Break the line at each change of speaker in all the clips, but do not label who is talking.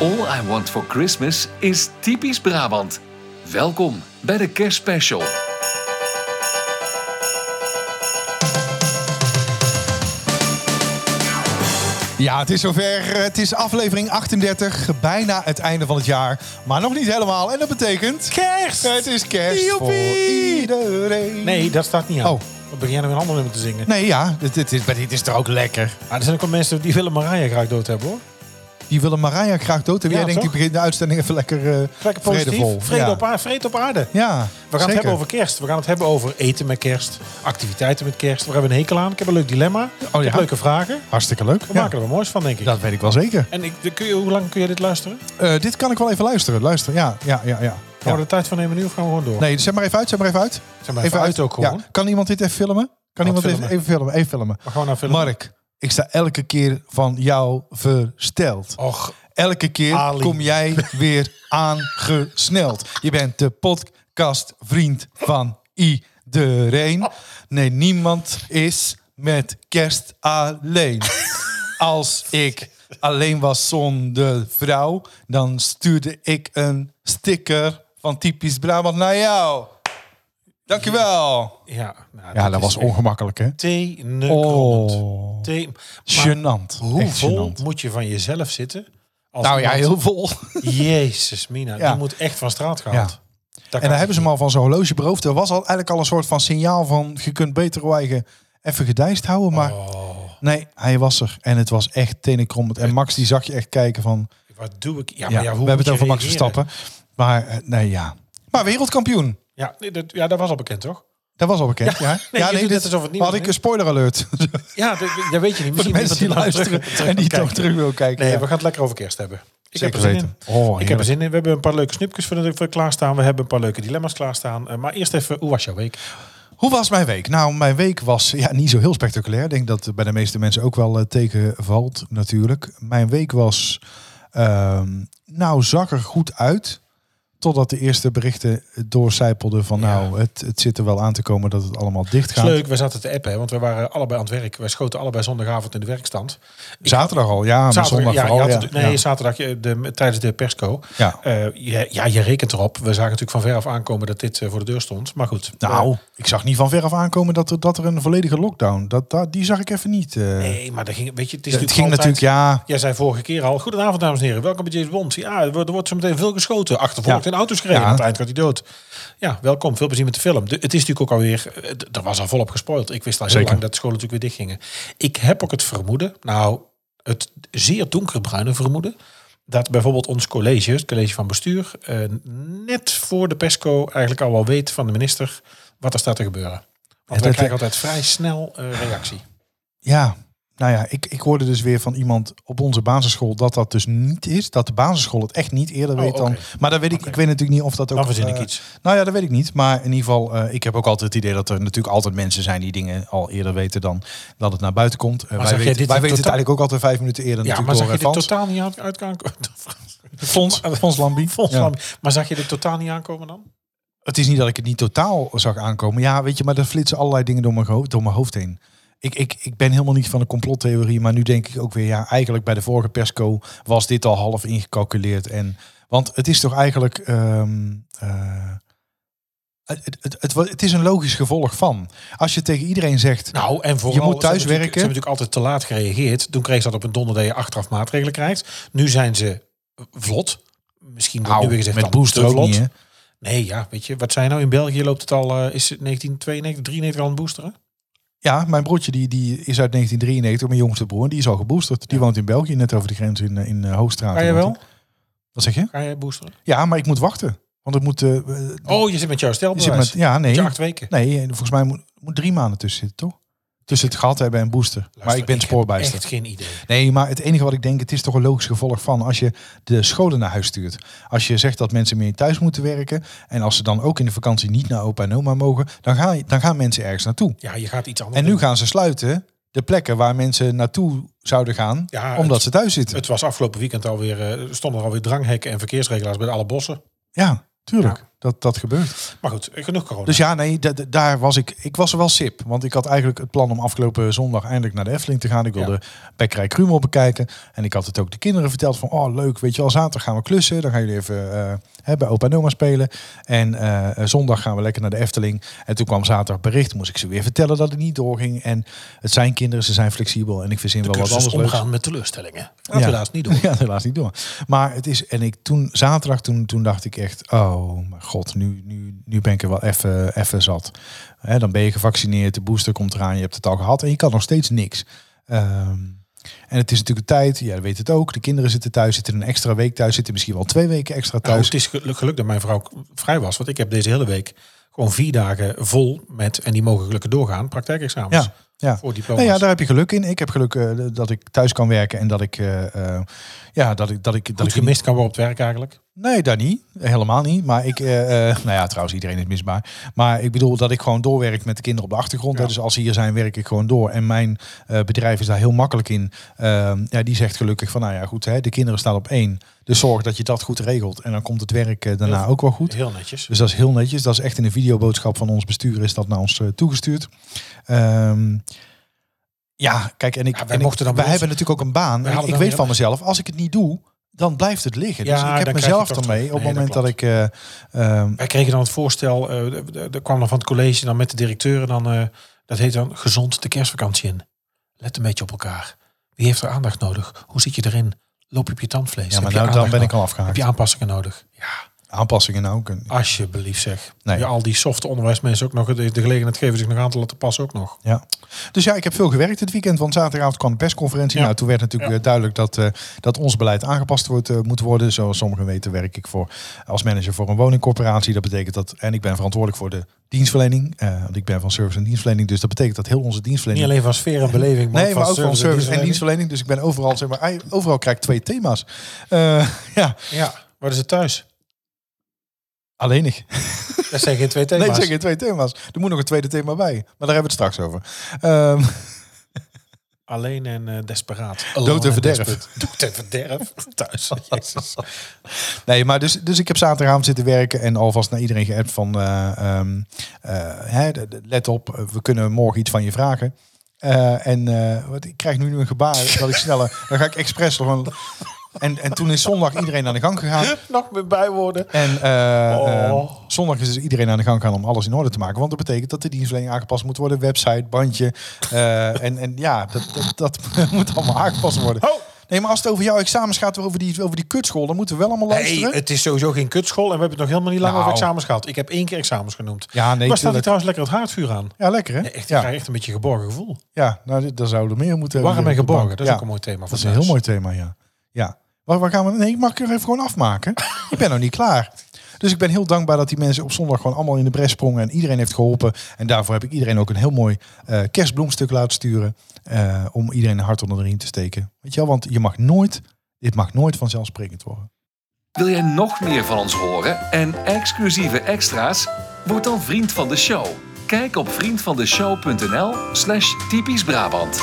All I Want for Christmas is typisch Brabant. Welkom bij de kerstspecial.
Ja, het is zover. Het is aflevering 38, bijna het einde van het jaar. Maar nog niet helemaal. En dat betekent...
Kerst!
Het is kerst
Joepie!
voor iedereen.
Nee, dat staat niet aan.
Oh.
Dan begin jij nou weer een ander nummer te zingen.
Nee, ja. Dit, dit is, maar dit is toch ook lekker.
Maar er zijn ook wel mensen die willen Mariah graag dood hebben hoor.
Die willen Mariah graag dood. En jij
Ja,
denkt, die
toch?
begint de uitzending even lekker, eh,
Lekker positief.
vredevol.
Vrede,
ja.
op aarde, vrede op aarde.
Ja, We gaan
We gaan het hebben over kerst. We gaan het hebben over eten met kerst. Activiteiten met kerst. We hebben een hekel aan. Ik heb een leuk dilemma. Ik heb
Oh, ja?
leuke vragen.
Hartstikke leuk.
We
Ja,
maken er wel moois van denk ik.
Dat weet ik wel zeker.
En ik, de- kun je, hoe lang kun je dit luisteren? Gaan
Eh, dit kan ik wel even luisteren. Luisteren, ja. ja, ja, ja.
we
ja.
er tijd van nemen nu of gaan we gewoon door?
Nee, zet maar even uit, zet maar even uit.
Zijn wij even uit ook gewoon?
Ja. Kan iemand dit even filmen? Kan iemand
filmen?
Even, even filmen? Even filmen.
Maar gewoon naar film.
Mark, ik sta elke keer van jou versteld.
Och,
Elke keer
Ali.
kom jij weer aangesneld. Je bent de podcastvriend van iedereen. Nee, niemand is met kerst alleen. Als ik alleen was zonder vrouw, dan stuurde ik een sticker van typisch Brabant naar jou. Dankjewel.
ja. Nou,
Ja,
dit
dat
is
was
echt
ongemakkelijk, hè?
tenenkrommend.
Oh,
Te- Maar
gênant.
Hoe
Echt
vol
gênant.
moet je van jezelf zitten? Als
Nou ja,
iemand-
heel vol.
Jezus, Mina,
Ja.
die moet echt van straat gehaald.
Ja.
Dat kan
En daar hebben ze
niet.
hem al van zo'n horloge beroofd. Er was al eigenlijk al een soort van signaal van... je kunt beter wel eigen even gedijst houden. Maar
Oh,
nee, hij was er. En het was echt tenenkrommend. En Max die zag je echt kijken van...
wat doe ik? Ja,
Ja,
maar ja,
we hebben
hoe moet
het
je
over Max
reageren?
Verstappen. Maar eh, nee, ja. Maar wereldkampioen.
Ja, nee, dat, ja, dat was al bekend, toch?
Dat was al bekend, ja.
nee, je doet net alsof het nieuws
had ik
is.
een spoiler alert.
Ja, dat, dat weet je niet.
Voor de
Misschien
mensen die
iemand er
luisteren
terug- terug
en die
kan
toch
kijken.
terug wil kijken.
Nee,
ja.
we gaan het lekker over kerst hebben. Ik
Zeker
heb er zin
weten.
in.
Oh,
ik heb
heerlijk.
er zin in. We hebben een paar leuke snipjes voor, natuurlijk voor klaarstaan. We hebben een paar leuke dilemma's klaarstaan. Eh, maar eerst even, hoe was jouw week?
Hoe was mijn week? Nou, mijn week was ja, niet zo heel spectaculair. Ik denk dat het bij de meeste mensen ook wel eh, tegenvalt, natuurlijk. Mijn week was, ehm, nou, zag er goed uit. Totdat de eerste berichten doorcijpelden van,
Ja.
nou, het, het zit er wel aan te komen dat het allemaal dicht
Het is
gaat.
leuk, we zaten te appen, hè, want we waren allebei aan het werk. Wij schoten allebei zondagavond in de werkstand.
Zaterdag al, ja, maar zondag
ja, je
vooral.
had
Ja,
het- nee,
ja.
zaterdag eh, de, tijdens de persco.
Ja.
Eh, ja, ja, je rekent erop. We zagen natuurlijk van ver af aankomen dat dit eh, voor de deur stond. Maar goed.
Nou, ik zag niet van ver af aankomen dat er, dat er een volledige lockdown, dat, dat, die zag ik even niet. eh.
Eh, nee, maar dat ging, weet je, het is
het ging natuurlijk,
altijd-
ja,
Jij zei vorige keer al, goedenavond dames en heren, welkom bij James Bond. Ja, er wordt, er wordt zo meteen veel geschoten, achtervolgd
Ja.
in auto's gereden,
Ja.
aan het eind gaat hij dood. Ja, welkom, veel plezier met de film. De- het is natuurlijk ook alweer, eh, d- er was al volop gespoild. Ik wist al heel
Zeker.
lang dat de scholen natuurlijk weer dichtgingen. Ik heb ook het vermoeden, nou, het zeer donkerbruine vermoeden, dat bijvoorbeeld ons college, het college van bestuur, eh, net voor de PESCO eigenlijk al wel weet van de minister wat er staat te gebeuren. Want
dat-
wij krijgen altijd vrij snel eh, reactie.
Ja, nou ja, ik, ik hoorde dus weer van iemand op onze basisschool dat dat dus niet is. Dat de basisschool het echt niet eerder
Oh,
weet dan.
oké.
Maar dat weet ik, ik weet natuurlijk niet of dat ook.
Dan verzin ik
eh,
iets.
Nou ja, dat weet ik niet. Maar in ieder geval, eh, ik heb ook altijd het idee dat er natuurlijk altijd mensen zijn die dingen al eerder weten dan dat het naar buiten komt. Eh,
zag
wij
jij
weten,
dit
wij
in
weten het
totaal?
eigenlijk ook altijd vijf minuten eerder.
Ja, maar
natuurlijk
zag je
door,
dit
eh, Frans.
totaal niet aan- uitkomen?
Fons, Fons Lambie.
Volgens
Ja.
mij. Maar zag je dit totaal niet aankomen dan?
Het is niet dat ik het niet totaal zag aankomen. Ja, weet je, maar er flitsen allerlei dingen door mijn, geho- door mijn hoofd heen. Ik, ik, ik ben helemaal niet van de complottheorie, maar nu denk ik ook weer, ja, eigenlijk bij de vorige persco was dit al half ingecalculeerd. En, want het is toch eigenlijk, ehm, eh, het, het, het, het wa- het is een logisch gevolg van. Als je tegen iedereen zegt,
Nou, en vooral...
moet thuis
ze hebben natuurlijk-
werken.
Ze hebben natuurlijk altijd te laat gereageerd. Toen kreeg ze dat op een donder dat je achteraf maatregelen krijgt. Nu zijn ze vlot. Misschien wordt nu weer gezegd
met
dan
booster
te
ook
vlot.
niet, hè?
Nee, ja, weet je. Wat zijn nou in België? Loopt het al... eh, is het 1992, 93 al aan het boosteren?
Ja, mijn broertje die, die is uit 1993, mijn jongste broer, die is al geboosterd. Die woont in België, net over de grens in, eh, in eh, Hoogstraat.
Ga je wel?
Wat zeg je?
Ga jij boosteren?
Ja, maar ik moet wachten. Want het moet. eh, eh,
Oh, je zit met jouw
je zit
stelbewijs.
met, ja, nee.
je acht weken.
Nee, eh, volgens mij moet, moet drie maanden tussen zitten, toch? Tussen het gehad hebben en booster. maar ik ben
heb
spoorbijster.
Echt geen idee.
Nee, maar het enige wat ik denk, het is toch een logisch gevolg van als je de scholen naar huis stuurt. Als je zegt dat mensen meer thuis moeten werken. En als ze dan ook in de vakantie niet naar opa en oma mogen, dan, ga, je- dan gaan mensen ergens naartoe.
Ja, je gaat iets anders
En nu
doen.
gaan ze sluiten de plekken waar mensen naartoe zouden gaan,
Ja,
omdat
het-
ze thuis zitten.
Het was afgelopen weekend alweer... eh, stonden er alweer dranghekken en verkeersregelaars bij alle bossen.
ja, tuurlijk. dat dat gebeurt.
Maar goed, genoeg corona.
Dus ja, nee, da- da- daar was ik. Ik was er wel sip. Want ik had eigenlijk het plan om afgelopen zondag eindelijk naar de Efteling te gaan. Ik wilde Bekkerij Krumel bekijken. En ik had het ook de kinderen verteld van, oh leuk, weet je wel, zaterdag gaan we klussen. Dan gaan jullie even eh, hè, bij opa en oma spelen. En eh, eh, zondag gaan we lekker naar de Efteling. En toen kwam zaterdag bericht, moest ik ze weer vertellen dat het niet doorging. En het zijn kinderen, ze zijn flexibel. En ik verzin wel
Kun
wat
je dus
anders leuks.
omgaan met teleurstellingen. Dat
Ja.
helaas niet doen.
Ja, helaas niet door. Maar het is, en ik toen, zaterdag, toen, toen dacht ik echt, oh mijn god, nu, nu, nu ben ik er wel even, even zat. Hè, dan ben je gevaccineerd, de booster komt eraan, je hebt het al gehad en je kan nog steeds niks. Ehm, en het is natuurlijk de tijd, jij weet het ook, de kinderen zitten thuis, zitten een extra week thuis, zitten misschien wel twee weken extra
Nou,
thuis.
het is geluk, geluk dat mijn vrouw k- vrij was. Want ik heb deze hele week gewoon vier dagen vol met, en die mogen gelukkig doorgaan, praktijkexamens.
Ja, ja.
Voor diploma's.
Nou ja, daar heb je geluk in. Ik heb geluk eh, dat ik thuis kan werken en dat ik, eh, eh, ja, dat ik, dat ik, dat
dat
ik
ik gemist kan worden op het werk eigenlijk.
Nee, daar niet. Helemaal niet. Maar ik, eh, eh, nou ja, trouwens, iedereen is misbaar. Maar ik bedoel dat ik gewoon doorwerk met de kinderen op de achtergrond. hè. Dus als ze hier zijn, werk ik gewoon door. En mijn eh, bedrijf is daar heel makkelijk in. Ehm, ja, die zegt gelukkig van, nou ja, goed, hè, de kinderen staan op één. Dus zorg dat je dat goed regelt. En dan komt het werk eh, daarna
Heel-
ook wel goed.
Heel netjes.
Dus dat is heel netjes. Dat is echt in een videoboodschap van ons bestuur is dat naar ons eh, toegestuurd. Ehm, ja, kijk, en ik,
Ja, wij
en ik-
mochten dan
wij
bij ons-
hebben natuurlijk ook een baan.
Wij
En
hadden
ik
dan
weet
weer-
van mezelf, als ik het niet doe, dan blijft het liggen.
Ja,
dus ik heb
dan krijg je
mezelf
toch
ermee
terug.
op
Nee,
het moment
dat
dat ik... eh, ehm,
Wij kregen dan het voorstel, eh, d- d- er kwam dan van het college, dan met de directeur. En dan, eh, dat heet dan gezond de kerstvakantie in. Let een beetje op elkaar. Wie heeft er aandacht nodig? Hoe zit je erin? Loop je op je tandvlees?
ja,
Dus
maar
Heb je
nou, dan
aandacht
ben ik
nodig?
al
Heb
afgehaakt.
je aanpassingen nodig? Ja,
Aanpassingen nou ook. een-
alsjeblieft zeg.
Nee.
Ja, al die soft onderwijsmensen ook nog de de gelegenheid geven zich nog aan te laten passen ook nog.
Ja. Dus ja, ik heb veel gewerkt dit weekend, want zaterdagavond kwam de persconferentie.
Ja.
Nou, toen werd natuurlijk eh, duidelijk dat, eh, dat ons beleid aangepast wordt, eh, moet worden. Zoals sommigen weten werk ik voor, als manager voor een woningcorporatie. Dat betekent dat, en ik ben verantwoordelijk voor de dienstverlening, eh, want ik ben van service en dienstverlening. Dus dat betekent dat heel onze
Niet
dienstverlening...
alleen van sfeer en beleving, maar
Nee,
ook van
maar ook van service en dienstverlening. Dus ik ben overal, zeg maar, ei- overal krijg ik twee thema's. Eh, ja,
Ja, waar is het thuis?
alleen ik.
Dat zijn geen twee thema's.
Nee, zeker twee thema's. Er moet nog een tweede thema bij, maar daar hebben we het straks over. Ehm,
Alleen en eh, desperaat.
Dood en
en
verderf.
desperate. Dood en verderf thuis. Jezus.
Nee, maar dus, dus ik heb zaterdagavond zitten werken en alvast naar iedereen geappt van... eh, ehm, eh, hè, de- de- let op, eh, we kunnen morgen iets van je vragen. Eh, en eh, wat, ik krijg nu een gebaar dat ik sneller... Dan ga ik expres nog een... En, en toen is zondag iedereen aan de gang gegaan.
Nog meer bijwoorden.
En eh,
Oh.
eh, zondag is dus iedereen aan de gang gaan om alles in orde te maken. Want dat betekent dat de dienstverlening aangepast moet worden. Website, bandje. eh, en, en ja, dat, dat, dat moet allemaal aangepast worden.
Ho!
Nee, maar als het over jouw examens gaat, over die, over die kutschool... dan moeten we wel allemaal luisteren.
Nee, het is sowieso geen kutschool en we hebben het nog helemaal niet lang
Nou.
over examens gehad. Ik heb één keer examens genoemd.
Ja, nee,
maar staat
tuurlijk.
hier trouwens lekker het haardvuur aan?
Ja, lekker hè?
Nee, echt, ik
ja,
krijg echt een beetje een geborgen gevoel.
ja, nou, dit- daar zouden we meer moeten hebben.
Warm en
hier op de
geborgen,
bank.
dat is
ja,
ook een mooi thema.
dat is een heel mooi thema, ja. ja. Waar, waar gaan we? Nee, mag ik er even gewoon afmaken? ik ben nog niet klaar. Dus ik ben heel dankbaar dat die mensen op zondag gewoon allemaal in de bres sprongen en iedereen heeft geholpen. En daarvoor heb ik iedereen ook een heel mooi eh, kerstbloemstuk laten sturen. eh, om iedereen een hart onder de riem te steken. Weet je wel, want je mag nooit, dit mag nooit vanzelfsprekend worden.
Wil jij nog meer van ons horen en exclusieve extra's? Word dan vriend van de show. Kijk op vriendvandeshow.nl slash typisch Brabant.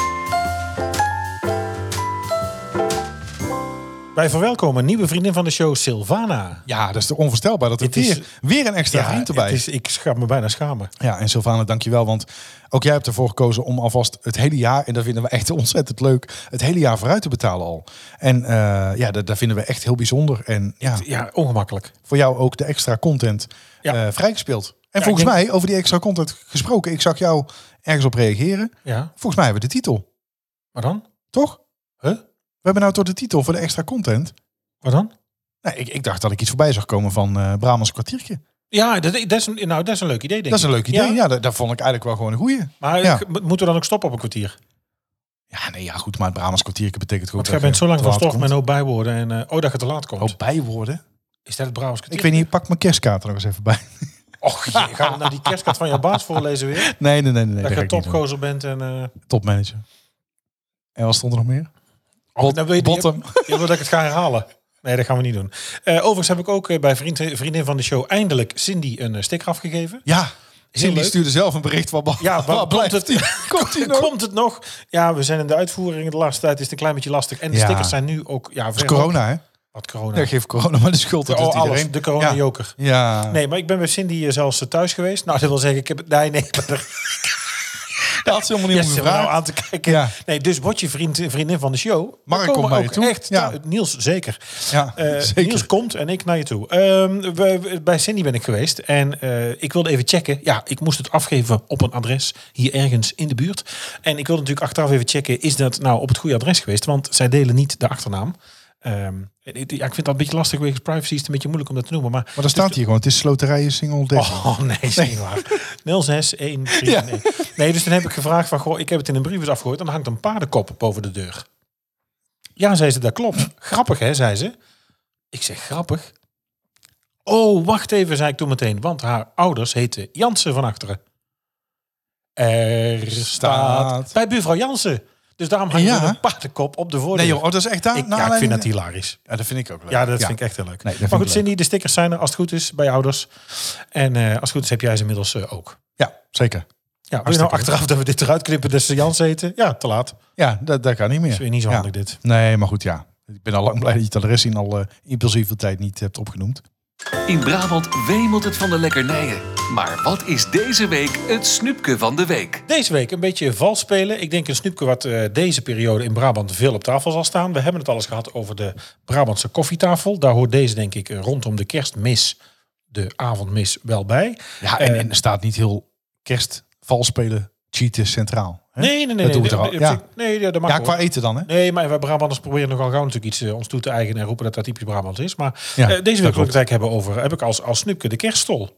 Wij verwelkomen een nieuwe vriendin van de show, Silvana.
Ja, dat is toch onvoorstelbaar dat er
Dit is-
weer, weer een extra vriend erbij
het is, ik schaam me bijna schamen.
Ja, en Sylvana, dankjewel. Want ook jij hebt ervoor gekozen om alvast het hele jaar, en dat vinden we echt ontzettend leuk, het hele jaar vooruit te betalen al. En eh, ja, dat, dat vinden we echt heel bijzonder. En ja,
Ja, ongemakkelijk.
voor jou ook de extra content
Ja.
eh, vrijgespeeld. En
Ja,
volgens
ik
mij, over die extra content gesproken, ik zag jou ergens op reageren.
Ja,
Volgens mij hebben we de titel,
maar dan?
toch?
Huh?
We hebben nou toch de titel voor de extra content?
Wat dan?
Nou, ik, ik dacht dat ik iets voorbij zag komen van eh Bramans kwartiertje.
Ja, dat, dat, is een, nou, dat is een leuk idee, denk ik.
dat is een leuk idee. Ja,
Ja.
dat, dat vond ik eigenlijk wel gewoon een goeie.
Maar
Ja.
g- mo- moeten we dan ook stoppen op een kwartier?
Ja, nee, ja, goed, maar het Bramans kwartiertje betekent goed.
Want jij bent zo lang van stof
stof
met no bijwoorden en eh, oh dat je te laat komt.
Oh, bijwoorden?
Is dat het Brabants
Ik
kwartier?
weet niet, pak mijn kerstkaart er nog eens even bij.
Och, je gaat nou die kerstkaart van jouw baas voorlezen weer.
Nee, nee, nee. nee
dat
ga
je
ik niet doen.
topgozer bent en... eh
Topmanager. En wat stond er nog meer?
oh, nou, wil je, je,
Bottom.
je wil dat ik het ga herhalen. Nee, dat gaan we niet doen. Eh, overigens heb ik ook eh, bij vriend, vriendin van de show eindelijk Cindy een eh, sticker afgegeven.
Ja. Cindy
leuk.
stuurde zelf een bericht van...
Ja, waar
waar
komt
blijft
het,
die? Komt die nog?
komt het nog? Ja, we zijn in de uitvoering. De laatste tijd is het een klein beetje lastig. En de
Ja.
stickers zijn nu ook... Ja,
Het
ver-
is corona, hè?
Wat corona.
Ja, geef corona maar de schuld. aan
oh,
doet
alles.
iedereen.
De corona-joker.
Ja.
Nee, maar ik ben bij Cindy eh, zelfs eh, thuis geweest. Nou, dat wil zeggen, ik heb... Nee, nee. Maar er-
dat had ze helemaal
Ja,
niet om
ze
gevraagd.
nou aan te kijken.
Ja.
Nee, dus word je vriend, vriendin van de show.
Mark
Dan komen
komt naar je
ook
toe.
Echt,
Ja.
nou, Niels zeker.
Ja,
Eh,
zeker.
Niels komt en ik naar je toe. Ehm, we- we- bij Cindy ben ik geweest en eh, ik wilde even checken. Ja, ik moest het afgeven op een adres hier ergens in de buurt. En ik wilde natuurlijk achteraf even checken, is dat nou op het goede adres geweest? Want zij delen niet de achternaam. Ehm, ja, ik vind dat een beetje lastig wegens privacy. Is het een beetje moeilijk om dat te noemen. Maar
Maar dan staat hier gewoon, het is sloterijen single 13.
Oh nee, is niet waar. 061. Ja. Nee. nee, dus toen heb ik gevraagd van, goh, ik heb het in een briefbus afgegooid en er hangt een paardenkop boven de deur. Ja, zei ze, dat klopt. Grappig hè, zei ze. Ik zeg, grappig? Oh, wacht even, zei ik toen meteen, want haar ouders heten Jansen van achteren. Er staat
Staat.
bij buurvrouw Jansen. Dus daarom hangt
Ja.
er een paardenkop op de voordeur.
Nee joh, oh, dat is echt daar?
ik,
Naar
ja, ik vind
aanleiding-
dat hilarisch.
Ja, dat vind ik ook leuk.
Ja, dat vind ik echt heel leuk.
Nee, dat vind
maar
ik
goed, Cindy, de stickers zijn er als het goed is bij je ouders. En eh, als het goed is heb jij ze inmiddels eh, ook.
Ja, zeker.
Ja, wil je nou
Hartstikke
achteraf dat we dit eruit knippen dat ze Jans eten? Ja, te laat. Dat
Ja, dat, dat kan niet meer.
is weer niet zo
Ja.
handig dit.
Nee, maar goed, ja. Ik ben al lang blij dat je het adres in al eh, impulsieve tijd niet hebt opgenoemd.
In Brabant wemelt het van de lekkernijen. Maar wat is deze week het snoepje van de week?
Deze week een beetje vals spelen. Ik denk een snoepje wat eh, deze periode in Brabant veel op tafel zal staan. We hebben het al eens gehad over de Brabantse koffietafel. Daar hoort deze denk ik eh, rondom de kerstmis, de avondmis, wel bij.
Ja, en,
Eh,
en er staat niet heel kerst, vals spelen, cheaten centraal. hè?
Nee, nee, nee.
Dat
nee,
doen we
nee,
toch al? Ja.
Nee, ja, dat mag
ja,
hoor.
qua eten dan, hè?
Nee, maar wij Brabanders proberen nogal gauw natuurlijk iets eh, ons toe te eigenen en roepen dat dat typisch Brabant is. Maar
Ja,
eh, deze wil ik
dat
het
klopt.
eigenlijk hebben over, heb ik als, als snoepje de kerststol.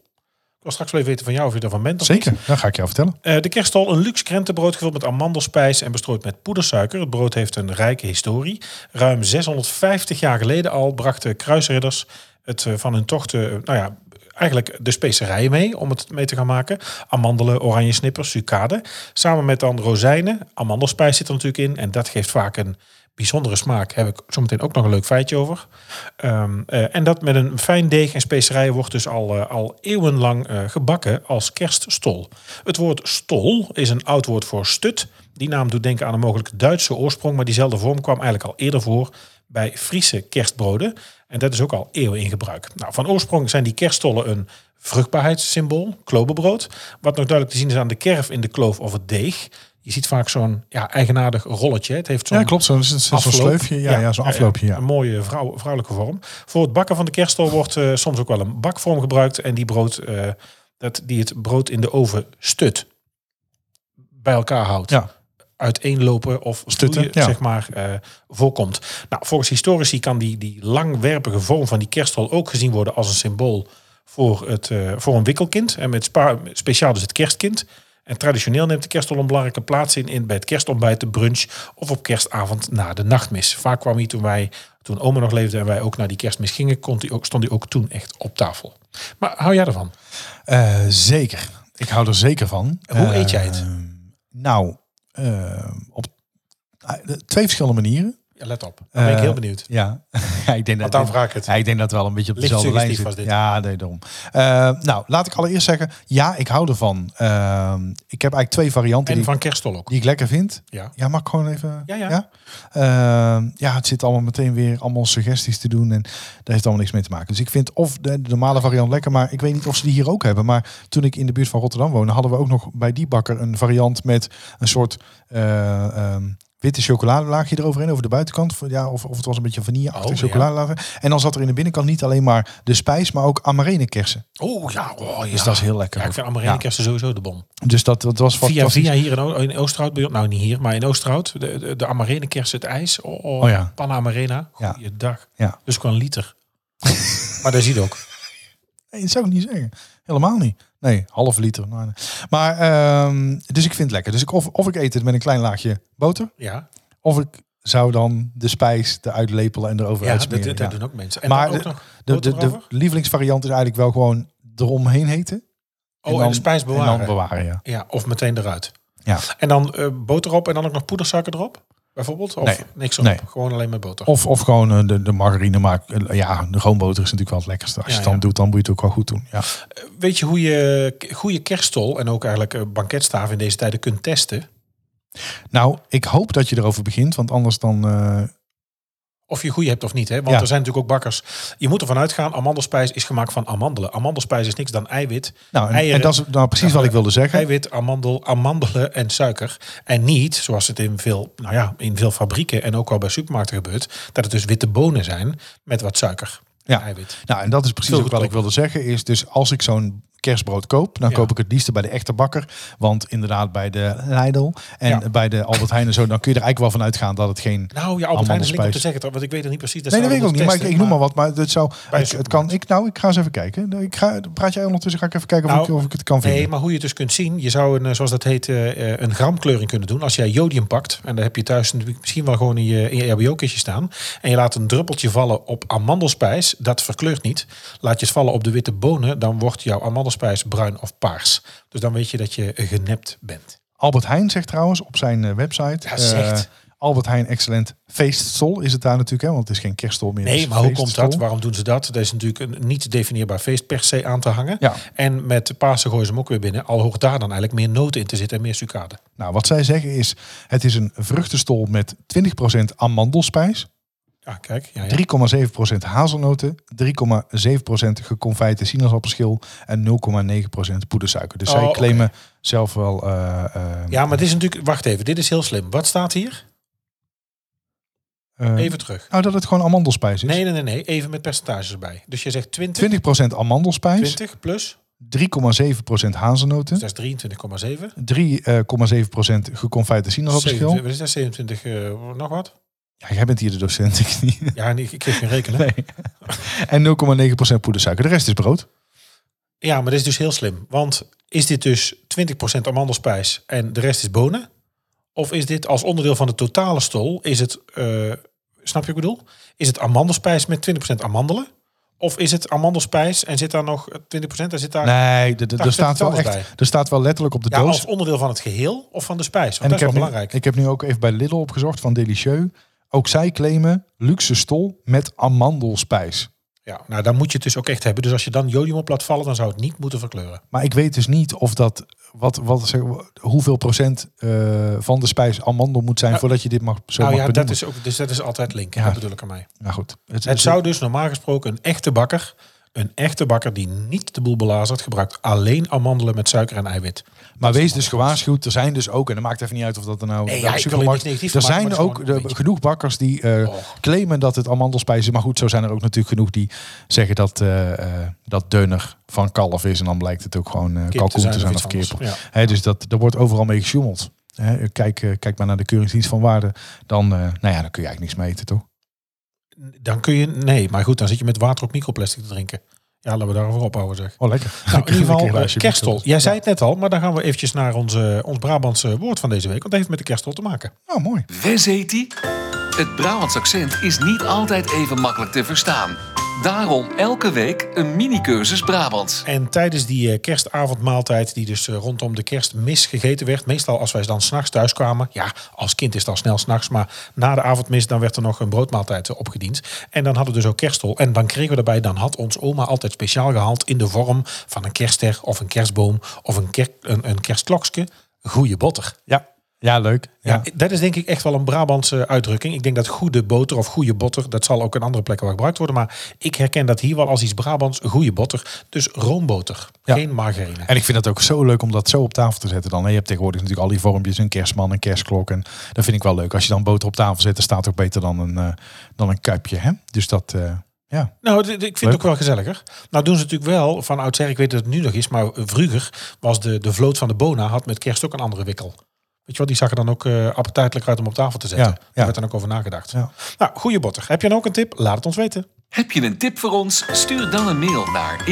Ik wil straks wel even weten van jou of je daarvan bent. of
Zeker, dat ga ik jou vertellen.
eh, de kerststol, een luxe krentenbrood gevuld met amandelspijs en bestrooid met poedersuiker. Het brood heeft een rijke historie. Ruim 650 jaar geleden al brachten kruisridders het eh, van hun tochten, eh, nou ja, eigenlijk de specerijen mee om het mee te gaan maken. Amandelen, oranje snippers, sucade. Samen met dan rozijnen. Amandelspijs zit er natuurlijk in en dat geeft vaak een bijzondere smaak. Heb ik zometeen ook nog een leuk feitje over. Ehm, eh, en dat met een fijn deeg en specerijen wordt dus al, eh, al eeuwenlang eh, gebakken als kerststol. Het woord stol is een oud woord voor stut. Die naam doet denken aan een mogelijk Duitse oorsprong, maar diezelfde vorm kwam eigenlijk al eerder voor bij Friese kerstbroden. En dat is ook al eeuwen in gebruik. Nou, van oorsprong zijn die kerststollen een vruchtbaarheidssymbool, klobenbrood. Wat nog duidelijk te zien is aan de kerf in de kloof of het deeg. Je ziet vaak zo'n ja, eigenaardig rolletje. Het heeft zo'n
Ja, klopt. Zo'n zo'n- zo'n
Afloop.
sleufje. Ja, ja. zo'n afloopje, ja.
Een mooie vrouw, vrouwelijke vorm. Voor het bakken van de kerststol wordt eh, soms ook wel een bakvorm gebruikt. En die, brood, eh, dat, die het brood in de oven stut. Bij elkaar houdt.
Ja.
Uiteenlopen of stutten,
Stutten, ja.
zeg maar, eh, voorkomt. Nou, volgens historici kan die, die langwerpige vorm van die kerststol ook gezien worden als een symbool voor, het, eh, voor een wikkelkind. En met spa- speciaal dus het kerstkind. En traditioneel neemt de kerststol een belangrijke plaats in, in bij het kerstontbijt, de brunch of op kerstavond na de nachtmis. Vaak kwam hij toen wij, toen oma nog leefde en wij ook naar die kerstmis gingen, kon die ook, stond hij ook toen echt op tafel. Maar hou jij ervan?
Eh, zeker. Ik hou er zeker van.
Hoe
Eh,
eet jij het?
Nou, eh, op eh, twee verschillende manieren.
Ja, let op. Dan ben ik
Eh,
heel benieuwd.
Ja, Ja, ik denk
Want
dat
dan vraag ik het.
Ja, ik denk dat het wel een beetje op
Licht
dezelfde lijn
suggestief
zit.
was dit.
Ja, nee, daarom. Eh, nou, laat ik allereerst zeggen, ja, ik hou ervan. Ehm, ik heb eigenlijk twee varianten
En
die,
van kerststol ook.
die ik lekker vind.
Ja.
Ja, mag ik gewoon even?
Ja, ja.
Ehm, ja, het zit allemaal meteen weer allemaal suggesties te doen en daar heeft allemaal niks mee te maken. Dus ik vind of de, de normale variant lekker, maar ik weet niet of ze die hier ook hebben. Maar toen ik in de buurt van Rotterdam woonde, hadden we ook nog bij die bakker een variant met een soort eh, ehm, witte chocoladelaagje eroverheen, over de buitenkant. Van- Ja, of, of het was een beetje
Oh,
vanilleachtig
ja.
chocoladelaagje. En dan zat er in de binnenkant niet alleen maar de spijs, maar ook amarene kersen.
Oh ja, oh, ja.
Dus dat is heel lekker.
Ja, ik vind Amarene
Ja.
kersten sowieso de bom.
Dus dat, dat was
Via,
fantastisch.
via hier in, O- in Oosterhout, bij- nou niet hier, maar in Oosterhout, de, de, de Amarene kerst het ijs. Oh, oh,
Oh ja.
Panamarena,
Ja.
goeiedag.
Ja.
Dus gewoon een liter. maar daar zie je ook.
Nee, dat zou ik niet zeggen. Helemaal niet. Nee, half liter. Nou, nee. Maar, ehm, dus ik vind het lekker. Dus ik, of, of ik eet het met een klein laagje boter,
Ja,
of ik zou dan de spijs eruit lepelen en erover
ja dat,
uitsmeren.
dat-
ja.
dat doen ook mensen. En
Maar
dan ook
de-
nog
De, de,
boter
de
erover?
lievelingsvariant is eigenlijk wel gewoon eromheen heten.
oh, en, de spijs bewaren.
En dan bewaren, ja.
ja, of meteen eruit.
ja.
En dan eh, boter op en dan ook nog poedersuiker erop, bijvoorbeeld? Of
Nee.
niks op,
Nee.
gewoon alleen maar boter.
Of, of gewoon eh, de, de margarine maken. Ja, de roomboter is natuurlijk wel het lekkerste. Als je
Ja,
het dan
ja.
doet, dan moet je het ook wel goed doen. Ja.
Eh, Weet je hoe je k- goede kerststol en ook eigenlijk eh, banketstaaf in deze tijden kunt testen?
Nou, ik hoop dat je erover begint, want anders dan... eh,
Of je goede hebt of niet. Hè? Want
Ja.
er zijn natuurlijk ook bakkers. Je moet ervan uitgaan, amandelspijs is gemaakt van amandelen. Amandelspijs is niks dan eiwit.
Nou, en,
eieren,
en dat is nou precies
Ja,
wat ik wilde zeggen.
Eiwit, amandel, amandelen en suiker. En niet, zoals het in veel, nou ja, in veel fabrieken en ook wel bij supermarkten gebeurt, dat het dus witte bonen zijn met wat suiker. en
Ja.
Eiwit.
Nou, en dat is precies
Veel
ook wat ik
goedkoper.
wilde zeggen. Is dus als ik zo'n kerstbrood koop, dan
Ja.
koop ik het liefst bij de echte bakker. Want inderdaad, bij de Lidl en
Ja.
bij de Albert Heijn en zo, dan kun je er eigenlijk wel van uitgaan dat het geen.
Nou ja, Albert Heijn is link om te
Amandelspijs.
zeggen, want ik weet het niet precies.
nee, dat
zouden
weet ik ook
we dus
niet. Maar ik, ik
moeten
noem maar wat. Maar dat zou.
Bij een
Ik, het kan. Ik, nou, ik ga eens even kijken. Ik ga, praat jij ondertussen? Ga ik even kijken of,
Nou,
ik, of ik het kan vinden.
Nee, maar hoe je het dus kunt zien, je zou een, eh, zoals dat heet, eh, eh, een gramkleuring kunnen doen. Als jij jodium pakt, en dan heb je thuis natuurlijk misschien wel gewoon in je, in je RBO-kistje staan. En je laat een druppeltje vallen op amandelspijs, dat verkleurt niet. Laat je het vallen op de witte bonen, dan wordt jouw amandelspijs bruin of paars. Dus dan weet je dat je genept bent.
Albert Heijn zegt trouwens op zijn eh, website.
Ja, zegt.
eh, Albert Heijn Excellent Feeststol is het daar natuurlijk, hè? want het is geen kerststol meer. het is
Nee, maar hoe komt
feeststol.
dat? Waarom doen ze dat? Er is natuurlijk een niet definieerbaar feest per se aan te hangen.
Ja.
En met Pasen gooien ze hem ook weer binnen. Al hoort daar dan eigenlijk meer noten in te zitten en meer sucade.
Nou, wat zij zeggen is, het is een vruchtenstol met 20% amandelspijs,
Ja, kijk. Ja, ja.
3,7% hazelnoten, 3,7% geconfijte sinaasappelschil en 0,9% poedersuiker. Dus
Oh,
zij
oké.
claimen zelf wel... eh, eh,
Ja, maar dit is natuurlijk. Wacht even, dit is heel slim. Wat staat hier?
eh,
Even terug.
Nou, dat het gewoon amandelspijs is.
Nee, nee, nee, nee. Even met percentages erbij. Dus je zegt 20,
20% amandelspijs,
20 plus.
3,7% hazelnoten,
Dus dat is 23,7.
3,7% geconfijte sinaasappelschil.
27, wat is dat 27, eh, nog wat?
Ja, jij bent hier de docent, ik niet.
Ja, nee, ik kreeg geen rekenen.
Nee. En 0,9% poedersuiker. De rest is brood.
Ja, maar dit is dus heel slim. Want is dit dus 20% amandelspijs en de rest is bonen? Of is dit als onderdeel van de totale stol, is het, eh, snap je wat ik bedoel? Is het amandelspijs met 20% amandelen? Of is het amandelspijs en zit daar nog 20% en zit daar...
Nee, d- d-
Daar
er staat,
zit het
wel
alles
echt, er staat wel letterlijk op de
Ja,
doos.
als onderdeel van het geheel of van de spijs? Want
en
dat
ik
is wel
heb, nu,
belangrijk.
ik heb nu ook even bij Lidl opgezocht van Delicieux. Ook zij claimen luxe stol met amandelspijs.
Ja, nou dan moet je het dus ook echt hebben. Dus als je dan jodium op laat vallen, dan zou het niet moeten verkleuren.
Maar ik weet dus niet of dat wat, wat, zeg- hoeveel procent eh, van de spijs amandel moet zijn
Nou,
voordat je dit mag zo
nou
mag
ja, dat
benoemen.
is, ook, dus dat is altijd link.
Ja.
Dat bedoel ik aan mij.
Nou goed,
Het zou dus normaal gesproken een echte bakker, een echte bakker die niet de boel belazert, gebruikt alleen amandelen met suiker en eiwit.
Maar wees dus gewaarschuwd. Er zijn dus ook, en dat maakt even niet uit of dat er nou
Nee,
de
ja, ik wil
supermarkt.
er niks negatief
Er
van maken,
zijn
maar het is
ook
gewoon
de-
een beetje- Oh.
genoeg bakkers die eh,
Och.
claimen dat het amandelspijs is. Maar goed, zo zijn er ook natuurlijk genoeg die zeggen dat, eh eh dat dunner van kalf is. En dan blijkt het ook gewoon eh
te
kalkoen
zijn
te
of
zijn
iets
of kip.
anders,
Hè, dus dat, er wordt overal mee gesjoemeld. Hè, kijk, eh, kijk maar naar de keuringsdienst van waarde. Dan, eh, nou ja, dan kun je eigenlijk niks mee eten, toch?
Dan kun je, nee, maar goed, dan zit je met water op microplastic te drinken. Ja, laten we daarover ophouden zeg.
Oh, lekker.
Nou, in ieder
Een keer
geval, eh,
lijstje
kerstol.
bieten.
Jij zei het net al, maar dan gaan we eventjes naar onze, ons Brabantse woord van deze week. Want dat heeft met de kerstol te maken.
Oh, mooi.
Wes heet die? Het Brabants accent is niet altijd even makkelijk te verstaan. Daarom elke week een mini-cursus Brabants.
En tijdens die eh, kerstavondmaaltijd, die dus eh, rondom de kerstmis gegeten werd, meestal als wij dan s'nachts thuis kwamen, ja, als kind is het al snel s'nachts, maar na de avondmis dan werd er nog een broodmaaltijd eh, opgediend. En dan hadden we dus ook kerstol. En dan kregen we daarbij, dan had ons oma altijd speciaal gehaald in de vorm van een kerstster of een kerstboom of een, ker een, een kerstklokske. Goeie botter.
Ja, ja leuk. Ja.
Ja. dat is denk ik echt wel een Brabantse uitdrukking. Ik denk dat goede boter of goede botter, dat zal ook in andere plekken wel gebruikt worden. Maar ik herken dat hier wel als iets Brabants, goede botter. Dus roomboter,
Ja.
geen margarine.
En ik vind dat ook zo leuk om dat zo op tafel te zetten dan. hè. Je hebt tegenwoordig natuurlijk al die vormpjes, een kerstman, een kerstklok. En dat vind ik wel leuk. Als je dan boter op tafel zet, dan staat het ook beter dan een, eh, dan een kuipje. Hè? Dus dat, eh, ja.
Nou, d- d- ik vind
Leuk.
het ook wel gezelliger. Nou doen ze natuurlijk wel, van oudsher, ik weet dat het nu nog is, maar vroeger was de, de vloot van de Bona, had met kerst ook een andere wikkel. Weet je wel, die zag er dan ook eh appetijtelijk uit om op tafel te zetten.
Ja,
Daar
ja.
werd dan ook over nagedacht.
Ja.
Nou, goede botter. Heb je dan ook een tip? Laat het ons weten.
Heb je een tip voor ons? Stuur dan een mail naar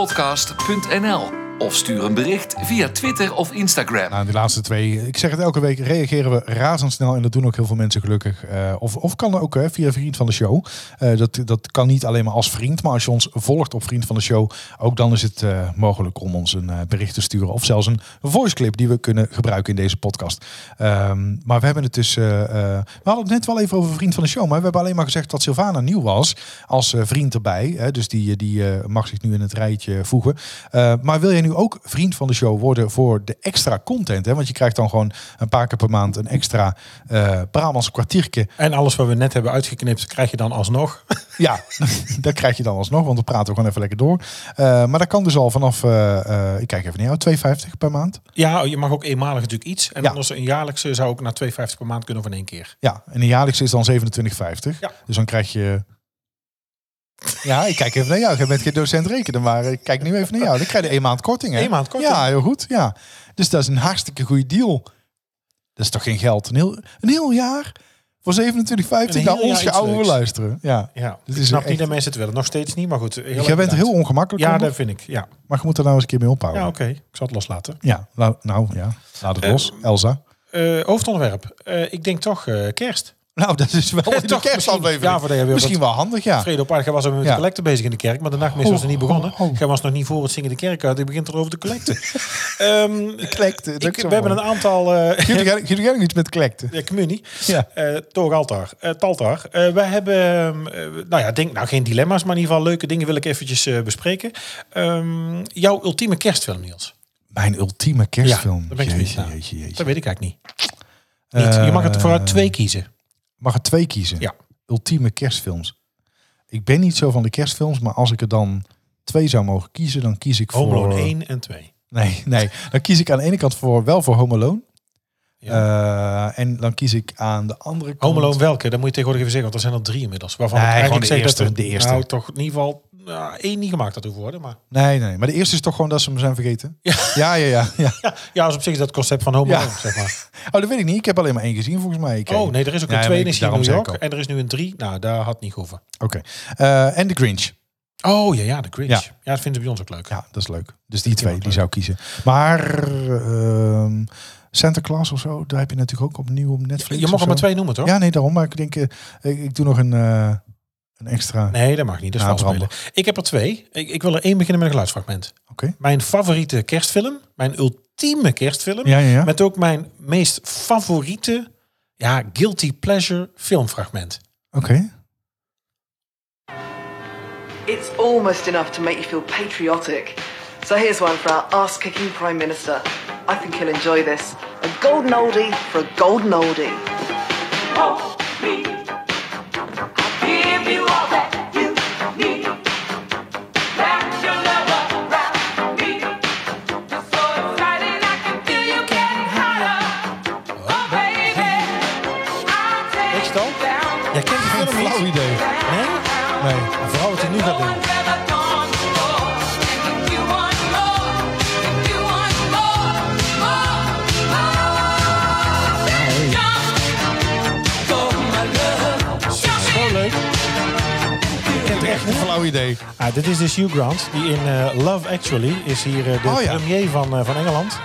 info@typischbrabantpodcast.nl of stuur een bericht via Twitter of Instagram.
Nou, de laatste twee, ik zeg het elke week, reageren we razendsnel. En dat doen ook heel veel mensen gelukkig. Eh, of, of kan ook hè, via Vriend van de Show. Eh, dat, dat kan niet alleen maar als vriend. Maar als je ons volgt op Vriend van de Show, ook dan is het eh, mogelijk om ons een eh, bericht te sturen. Of zelfs een voice clip die we kunnen gebruiken in deze podcast. Ehm, maar we hebben het dus. eh, eh, we hadden het net wel even over Vriend van de Show. Maar we hebben alleen maar gezegd dat Sylvana nieuw was. Als eh, vriend erbij. Hè, dus die, eh, die eh, mag zich nu in het rijtje voegen. Eh, maar wil jij nu nu ook vriend van de show worden voor de extra content. Hè? Want je krijgt dan gewoon een paar keer per maand een extra eh Brabants kwartiertje.
En alles wat we net hebben uitgeknipt, krijg je dan alsnog.
Ja, dat krijg je dan alsnog, want we praten we gewoon even lekker door. Eh, maar dat kan dus al vanaf, eh, eh, ik kijk even naar jou, 2,50 per maand.
Ja, je mag ook eenmalig natuurlijk iets. En
Ja.
anders een jaarlijkse zou ik naar 2,50 per maand kunnen of in één keer.
Ja, en de jaarlijkse is dan 27,50.
Ja.
Dus dan krijg je... Ja, ik kijk even naar jou. Jij bent geen docent rekenen, maar ik kijk nu even naar jou. Dan krijg je één maand korting, hè?
Eén maand korting.
Ja, heel goed, ja. Dus dat is een hartstikke goede deal. Dat is toch geen geld? Een heel, een heel jaar voor 27,50
Een
naar
heel jaar
ons
iets
geouwe
leuks.
luisteren. Ja.
Ja,
Dit
ik
is
snap
echt-
niet dat mensen het willen. Nog steeds niet, maar goed. heel erg
Jij bent
bedankt.
heel ongemakkelijk,
Ja,
Conor,
dat vind ik. Ja,
maar je moet er nou eens een keer mee ophouden.
ja oké. Ik zal het loslaten.
Ja, nou, nou ja. Laat het
Eh,
los, Elsa.
Eh, hoofdonderwerp. Eh, ik denk toch eh, kerst.
Nou, dat is wel in de
Toch
kerstaflevering.
misschien- ja, voor de-
misschien wel handig, ja.
Vrede op aarde was er met
Ah. Ja.
de collecte bezig in de kerk, maar de nachtmis
Oh,
was er niet begonnen.
oh, oh.
Jij was nog niet voor het zingen de kerk uit. Ik begint er over de collecte. Ehm,
Klekte. dat
ik-
is zo
we hebben
mooi.
een aantal... eh
Jullie gaan- jullie gaan ook iets met klekte.
ja, communie.
Ja.
Eh, toch altaar. Eh, taltaar. Eh, we hebben, ehm, eh, nou ja, denk, nou geen dilemma's, maar in ieder geval leuke dingen wil ik eventjes eh, bespreken. Ehm, jouw ultieme kerstfilm, Niels.
Mijn ultieme kerstfilm.
Ja, daar ben ik
jeetje,
benieuwd naar.
jeetje, jeetje.
Dat weet ik eigenlijk niet. Niet. je mag het
Eh,
vooruit twee kiezen.
Mag er twee kiezen?
Ja.
Ultieme kerstfilms. Ik ben niet zo van de kerstfilms, maar als ik er dan twee zou mogen kiezen, dan kies ik
Home
voor...
Alone 1 en 2.
Nee, nee. Dan kies ik aan de ene kant voor, wel voor Home Alone. Eh, en dan kies ik aan de andere kant...
Home Alone welke? Dat moet je tegenwoordig even zeggen, want er zijn er drie inmiddels. Waarvan
Nee,
ik eigenlijk
gewoon de
zeg dat
eerste,
er,
de eerste.
Nou, toch in ieder geval nou, één niet gemaakt had hoeven worden. Maar
Nee, nee. Maar de eerste is toch gewoon dat ze hem zijn vergeten?
Ja.
Ja, ja, ja. ja.
ja, ja als op zich is dat concept van Home
Ja.
Alone, zeg maar.
Oh, dat weet ik niet. Ik heb alleen maar één gezien volgens mij. Ik-
Oh nee, er is ook
Ja,
een twee
maar
in
ik- daarom
New
zei ik
York
al.
en er is nu een drie. Nou, daar had niet gehoeven.
Oké. Eh, en de Grinch.
Oh ja, ja, de Grinch.
Ja.
Ja, dat vinden ze bij ons ook leuk.
Ja, dat is leuk. Dus die twee,
ook
die zou ik kiezen. Maar ehm, Santa Claus of zo, daar heb je natuurlijk ook opnieuw op Netflix.
Je
of
mag er maar
zo.
twee noemen, toch?
Ja, nee, daarom. Maar ik denk, eh, ik, ik doe nog een, eh, een extra.
Nee, dat mag niet. Dat is
Nou,
vals spelen. Ik heb er twee. Ik, ik wil er één beginnen met een geluidsfragment.
Oké.
Mijn favoriete kerstfilm. Mijn ultieme kerstfilm.
Ja, ja, ja.
Met ook mijn meest favoriete, ja, guilty pleasure filmfragment.
Oké.
It's almost enough to make you feel patriotic. So here's one for our ass kicking Prime Minister. I think he'll enjoy this. A golden oldie for a golden oldie.
Oh, me. I'll give you all that you need. Wrap your love around me. You're so exciting, I can feel you getting hotter. Oh, baby, I'll
Weet je
take
het al?
you down.
Jij kent die film niet?
Flauw idee.
Nee?
Nee.
Maar Vooral wat hij nu gaat
No
doen.
one's ever gone before. And if you want more, if you want more, more, more, jump. Go, my love. Jump in.
Zo leuk. Ik ken het echt niet.
Flauw idee.
Ah, dit is dus Hugh Grant, die in eh, Love Actually is hier eh, de
Oh, ja.
premier van, eh, van Engeland.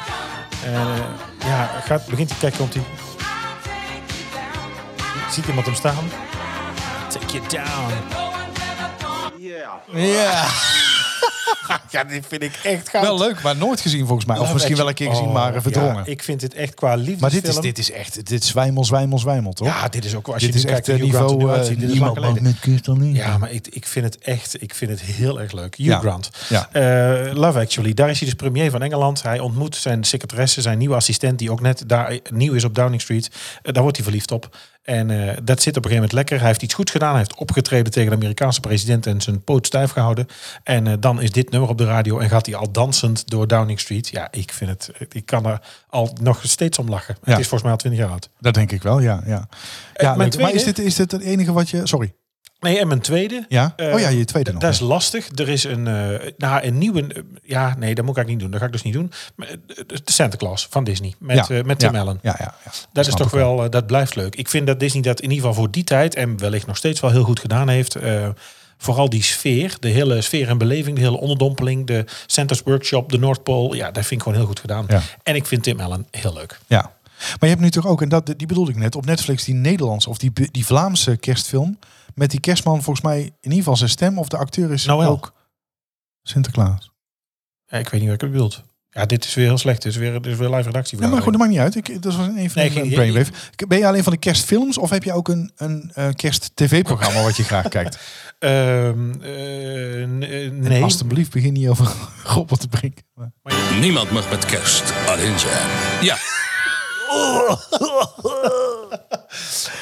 Eh, ja, gaat, begint hij, kijk, komt hij. Ziet iemand hem staan? Take you down.
Ja,
Ja, dit vind ik echt gaaf.
wel leuk, maar nooit gezien volgens mij. Of misschien wel een keer gezien, maar eh, verdrongen.
Oh, ik vind dit echt qua liefdesfilm.
maar dit is, dit is echt, dit is zwijmel, zwijmel, zwijmel, toch?
Ja, dit is ook... Als
dit
je
is
nu
echt
kijkt
eh,
hoe Hugh Grant er
niveau...
nu
eh,
uitziet, dit is lang
niemand mag
geleden.
met kunst dan niet.
Ja, maar ik, ik vind het echt, ik vind het heel erg leuk. Hugh
Ja.
Grant.
Ja.
Eh, Love Actually, daar is hij dus premier van Engeland. Hij ontmoet zijn secretaresse, zijn nieuwe assistent, die ook net daar nieuw is op Downing Street. Eh, daar wordt hij verliefd op. En eh, dat zit op een gegeven moment lekker. Hij heeft iets goeds gedaan. Hij heeft opgetreden tegen de Amerikaanse president en zijn poot stijf gehouden. En eh, dan is dit nummer op de radio en gaat hij al dansend door Downing Street. Ja, ik vind het, ik kan er al nog steeds om lachen.
Ja.
Het is volgens mij al twintig jaar oud.
Dat denk ik wel, ja. ja. ja leuk.
mijn
Maar
tweede-
is dit, is dit het enige wat je... Sorry.
Nee, en mijn tweede.
Ja?
eh,
oh ja, je tweede nog.
Dat
ja.
is lastig. Er is een, eh nou, een nieuwe... eh, ja, nee, dat moet ik eigenlijk niet doen. Dat ga ik dus niet doen. Maar, eh, De Santa Claus van Disney. Met,
Ja,
eh, met Tim
ja,
Allen.
Ja, ja, ja.
Dat is
Snap
toch
ik
wel, eh, dat blijft leuk. Ik vind dat Disney dat in ieder geval voor die tijd... en wellicht nog steeds wel heel goed gedaan heeft. Eh, vooral die sfeer. De hele sfeer en beleving. De hele onderdompeling. De Santa's Workshop. De Noordpool. Ja, dat vind ik gewoon heel goed gedaan.
Ja.
En ik vind Tim Allen heel leuk.
Ja. Maar je hebt nu toch ook, en dat, die bedoelde ik net, op Netflix die Nederlandse of die, die Vlaamse kerstfilm. Met die kerstman volgens mij in ieder geval zijn stem of de acteur is
Noël.
ook Sinterklaas.
Eh, ik weet niet wat ik bedoel. Ja, dit is weer heel slecht. Dit is weer, dit is weer live redactie.
Nee, maar goed, dat maakt niet uit. Ik, dat was een van
Nee,
de
geen-
brainwave. Ben je alleen van de kerstfilms of heb je ook een, een eh, kerst-tv-programma wat je graag kijkt?
Ehm, eh, n- eh, nee.
Alsjeblieft, begin niet over goppel te brengen. Maar-
Niemand mag met kerst alleen zijn. Ja,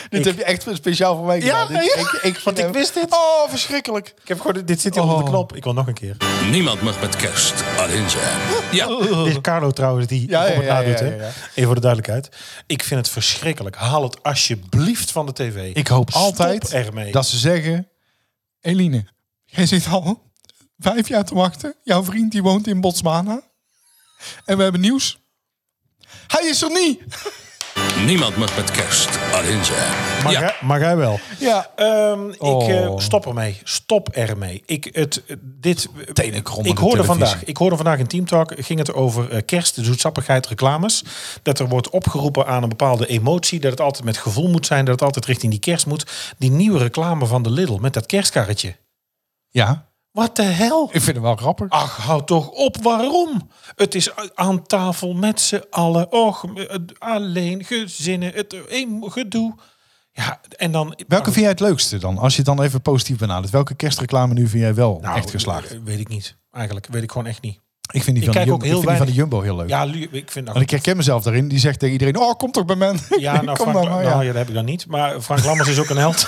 Dit heb je echt speciaal voor mij
Ja,
gedaan. Dit-
ja,
vind
want ik
hem-
wist dit.
Oh, verschrikkelijk.
Ik heb gewoon, dit zit hier onder de
Oh.
knop. Ik wil nog een keer.
niemand mag met kerst alleen zijn. Ja,
Dit is Carlo trouwens die
Ja,
ja,
ja,
op het
ja,
nadoet.
ja,
hè?
ja, ja.
Even voor de duidelijkheid. Ik vind het verschrikkelijk. Haal het alsjeblieft van de tv.
Ik hoop
Stop
altijd
ermee.
dat ze zeggen... Eline, jij zit al vijf jaar te wachten. Jouw vriend die woont in Botswana. En we hebben nieuws. Hij is er niet.
niemand mag met kerst alleen zijn.
mag,
Ja,
hij, mag hij wel.
Ja.
Ehm,
Oh.
Ik eh, stop ermee. Stop ermee. Ik, het, dit,
Tenen krommende
ik hoorde
televisie.
vandaag. Ik hoorde vandaag in Teamtalk ging het over eh, kerst, de zoetsappigheid, reclames. Dat er wordt opgeroepen aan een bepaalde emotie. Dat het altijd met gevoel moet zijn. Dat het altijd richting die kerst moet. Die nieuwe reclame van de Lidl met dat kerstkarretje.
ja,
Wat de hel?
ik vind hem wel grappig.
Ach, hou toch op, waarom? Het is a- aan tafel met z'n allen. Och, eh, alleen gezinnen, het eh, een gedoe. Ja, en dan...
Welke vind jij het leukste dan? Als je het dan even positief benadert. Welke kerstreclame nu vind jij wel
Nou,
echt geslaagd?
eh, Weet ik niet, eigenlijk. Weet ik gewoon echt niet.
Ik vind die
ik
van, de
kijk
Jumbo,
ook heel
ik vind die van de
weinig.
Jumbo heel leuk.
Ja, lu- ik vind...
Want ik herken mezelf daarin. Die zegt tegen iedereen, oh, kom toch bij men.
ja, nou,
kom
Frank,
dan maar.
nou,
Ja.
ja, dat heb ik dan niet. Maar Frank Lammers is ook een held.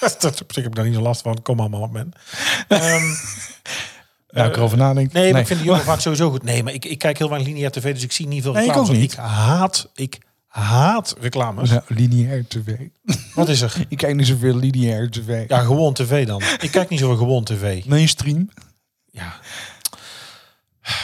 dat, op zich heb ik daar niet zo last van. Kom allemaal op, man. Ehm,
Ja, ik erover nadenk.
eh, Nee, maar ik vind de jongen vaak sowieso goed. Nee, maar ik, ik kijk heel weinig lineair tv, dus ik zie niet veel
Nee, ik
reclames.
ook niet.
Ik haat, ik haat reclames.
Nou, lineair tv.
Wat is er?
Ik kijk niet zoveel lineair tv.
Ja, gewoon tv dan. Ik kijk niet zoveel gewoon tv.
Mainstream.
Ja.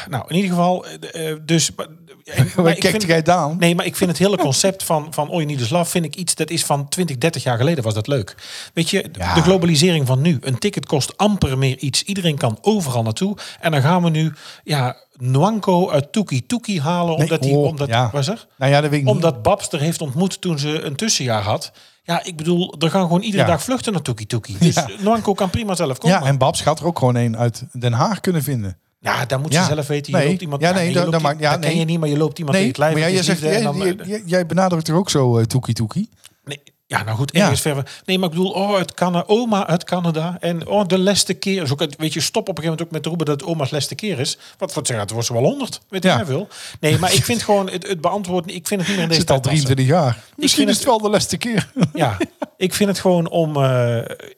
Nou, in ieder geval, eh, eh, dus... maar- eh, maar
Waar
ik
kijkt
vind-
jij dan?
Nee, maar ik vind het hele concept van, van All You Need Is Love... vind ik iets dat is van 20, 30 jaar geleden was dat leuk. Weet je,
Ja.
de globalisering van nu. Een ticket kost amper meer iets. Iedereen kan overal naartoe. En dan gaan we nu ja, Nwanko uit Tuki Tuki halen... omdat hij...
oh,
omdat,
ja.
was er?
Nou ja, dat weet ik niet.
Omdat Babs er heeft ontmoet toen ze een tussenjaar had. Ja, ik bedoel, er gaan gewoon iedere
Ja.
dag vluchten naar Tuki Tuki. Dus
Ja.
ja. kan prima zelf komen.
Ja, en Babs gaat er ook gewoon een uit Den Haag kunnen vinden.
Ja, daar moet je
Ja.
zelf weten. Je
Nee.
loopt iemand.
Ja, nee,
je
dat-
loopt
dat
i-
maakt- ja,
dat
nee.
ken je niet, maar je loopt iemand
Nee,
tegen het lijf.
maar jij,
het
jij
is
zegt,
liefde
jij,
en dan,
jij-
eh,
jij- jij benadrukt er ook zo eh, toekie toekie.
nee. ja, nou goed,
Ja.
ergens ver. Nee, maar ik bedoel, oh, het Cana- oma uit Canada. En oh, de leste keer. Dus ook, het- weet je, stop op een gegeven moment ook met roepen dat het oma's leste keer is. Wat voor zeggen, het wordt ze wel honderd. Weet
Ja.
jij veel. Nee, maar ik vind gewoon het, het beantwoorden. Ik vind het niet meer
Het
in deze
zit al
tijd passen.
23 jaar. Misschien is
vind
het wel de laatste keer.
Ja, ik vind het gewoon om. eh,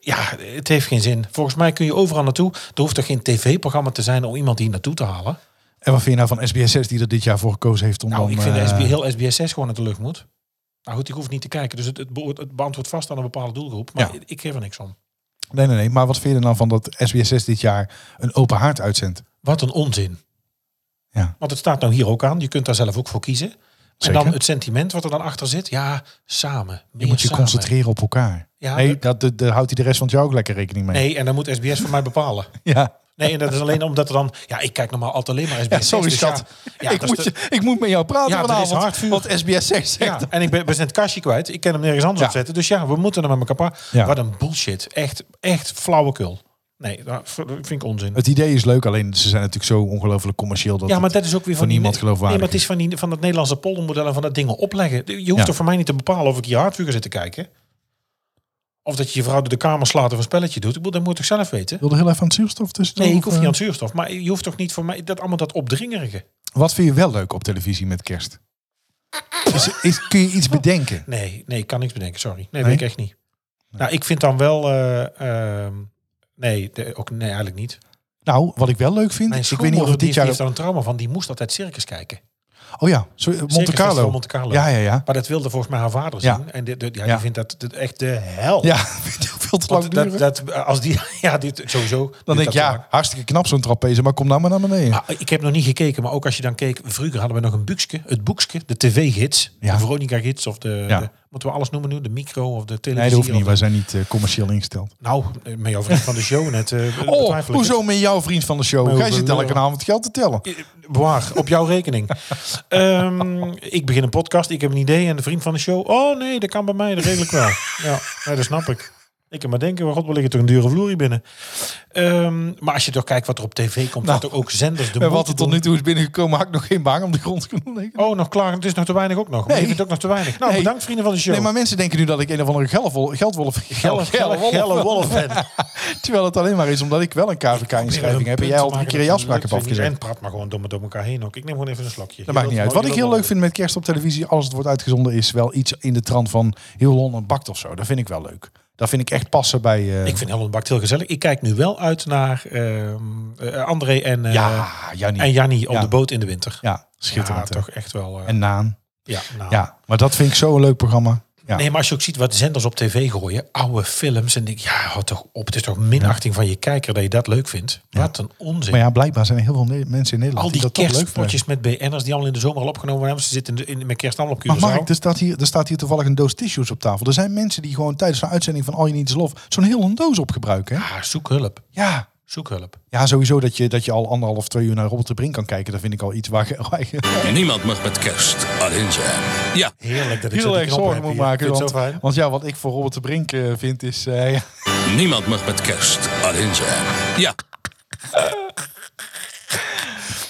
ja, het heeft geen zin. Volgens mij kun je overal naartoe. Er hoeft er geen tv-programma te zijn om iemand hier naartoe te halen.
En wat vind je nou van SBS6 die er dit jaar voor gekozen heeft? Om
Nou,
dan,
ik vind
eh,
de SB, heel SBS6 gewoon uit de lucht moet. Nou goed, ik hoef niet te kijken. Dus het, het, beo- het beantwoordt vast aan een bepaalde doelgroep. Maar
Ja.
ik, ik geef er niks om.
Nee, nee, nee. Maar wat vind je er nou van dat SBS6 dit jaar een open haard uitzendt?
Wat een onzin.
Ja.
Want het staat nou hier ook aan. Je kunt daar zelf ook voor kiezen.
Zeker.
En dan het sentiment wat er dan achter zit. Ja, samen.
Je moet je concentreren op elkaar.
Ja,
nee,
dat-
dat, dat, daar houdt hij de rest van het jaar ook lekker rekening mee.
Nee, en dan moet SBS voor mij bepalen.
Ja.
Nee, en dat is alleen omdat er dan... Ja, ik kijk normaal altijd alleen maar SBS.
Ja, sorry
dus ja,
schat.
ja,
ik,
dat
moet
is de-
je, ik moet met jou praten
Ja, er is
vanavond.
hardvuur.
Want SBS 6
Ja,
zegt...
en ik ben, ben het kastje kwijt. Ik kan hem nergens anders
Ja.
opzetten. Dus ja, we moeten hem met elkaar... pa-
Ja.
Wat een bullshit. Echt, echt flauwekul. Nee, dat v- dat vind ik onzin.
Het idee is leuk, alleen ze zijn natuurlijk zo ongelooflijk commercieel. Dat
ja, maar
het-
dat is ook weer
van
van... die-
niemand geloofwaardig
Nee, maar het is van, die, van dat Nederlandse poldermodel en van dat dingen opleggen. Je hoeft
Ja.
er voor mij niet te bepalen of ik je hardvuur ga zitten kijken. Of dat je je vrouw door de kamer slaat of een spelletje doet. Ik bedoel, dat moet je toch zelf weten?
wilde heel even aan het zuurstof tussen. eh?
Nee, ik hoef niet aan het zuurstof. Maar je hoeft toch niet voor mij... Dat allemaal dat opdringerige.
Wat vind je wel leuk op televisie met kerst? Is, is- kun je iets bedenken?
Nee, nee, ik kan niks bedenken, sorry. Nee,
Nee?
weet ik echt niet. Nou, ik vind dan wel... eh, ehm, nee, de- ook, nee, eigenlijk niet.
Nou, wat ik wel leuk vind...
Mijn
ik weet niet of het dit jaar...
heeft daar een trauma van. Die moest altijd circus kijken.
Oh ja, sorry, Monte
Circus
Carlo.
Festival Monte Carlo.
Ja, ja, ja.
Maar dat wilde volgens mij haar vader
Ja.
zien. En de, de- ja,
Ja.
die vindt dat, dat echt de hel.
Ja, vind ik veel te lang
Want
duren.
dat, dat, als die, ja, dit sowieso.
Dan
dit
denk ik,
dat te
ja,
lang.
hartstikke knap zo'n trapeze, maar kom nou maar naar beneden.
Maar ik heb nog niet gekeken, maar ook als je dan keek, vroeger hadden we nog een boekje, het boekje, de tv-gids,
Ja.
de Veronica-gids of de,
Ja.
de- moeten we alles noemen nu, de micro of de
nee,
televisie.
dat hoeft niet.
of-
Wij zijn niet eh, commercieel ingesteld.
Nou, eh, met jouw vriend van de show net. eh, betwijfel
Oh,
ik het.
hoezo met jouw vriend van de show?
Maar
Jij zit
hoeveel-
elke avond geld te tellen.
Waar? Op jouw rekening. Ehm, ik begin een podcast, ik heb een idee en de vriend van de show. Oh nee, dat kan bij mij, dat regel ik wel. Ja, nee, dat snap ik. Ik kan maar denken, god, we liggen toch een dure vloer hier binnen. Ehm, maar als je toch kijkt wat er op tv komt,
Nou,
wat er ook zenders de
En
moeite
wat er tot
doen.
nu toe is binnengekomen, had ik nog geen baan om de grond kunnen leggen.
Oh, nog klaar. Het is nog te weinig ook nog. Maar
Nee.
je vindt ook nog te weinig. Nou,
Nee.
bedankt vrienden van de show.
Nee, maar mensen denken nu dat ik een of andere geldwolf, geldwolf,
Gelle, gelle,
wolf-
gelle wolf ben.
Terwijl het alleen maar is omdat ik wel een KVK-inschrijving heb en jij al drie keer je afspraak hebt afgezet.
En praat maar gewoon door, door elkaar heen ook. Ik neem gewoon even een slokje.
Dat maakt niet uit. Wat ik heel leuk vind met kerst op televisie, als het wordt uitgezonden, is wel iets in de trant van heel Londen bakt of zo. Dat vind ik wel leuk. Dat vind ik echt passen bij. eh,
Ik vind Helmond Bakt heel gezellig. Ik kijk nu wel uit naar ehm, eh, André en, eh,
ja, Jannie.
en Jannie op
Ja.
de boot in de winter.
ja,
Ja,
schitterend. hè.
toch echt wel. eh,
En Naan.
ja, nou.
Ja, maar dat vind ik zo'n leuk programma. Ja.
Nee, maar als je ook ziet wat zenders op tv gooien, oude films, en denk ik, ja, hou toch op. Het is toch minachting van je kijker dat je dat leuk vindt. Wat een onzin.
Maar ja, blijkbaar zijn er heel veel Ne- mensen in Nederland
al die
dat toch leuk vinden.
kerstpotjes met BN'ers die allemaal in de zomer al opgenomen hebben. Ze zitten in, de- in, met kerst allemaal op
Maar
Curaçao.
Mark, er staat, hier, er staat hier toevallig een doos tissues op tafel. Er zijn mensen die gewoon tijdens een uitzending van All You Need Is Love zo'n hele doos opgebruiken. Hè?
Ah, zoek hulp.
Ja.
Zoek hulp.
ja, sowieso dat je, dat je al anderhalf, twee uur naar Robert de Brink kan kijken. Dat vind ik al iets waar je... waar je-
Niemand mag met kerst alleen zijn. Ja,
Heerlijk dat ik zo
heel
die
erg
knoppen
zorgen
heb
moet
hier.
maken.
Vind je
Want,
het zo fijn?
want ja, wat ik voor Robert de Brink eh, vind is... eh, ja.
niemand mag met kerst alleen zijn. Ja,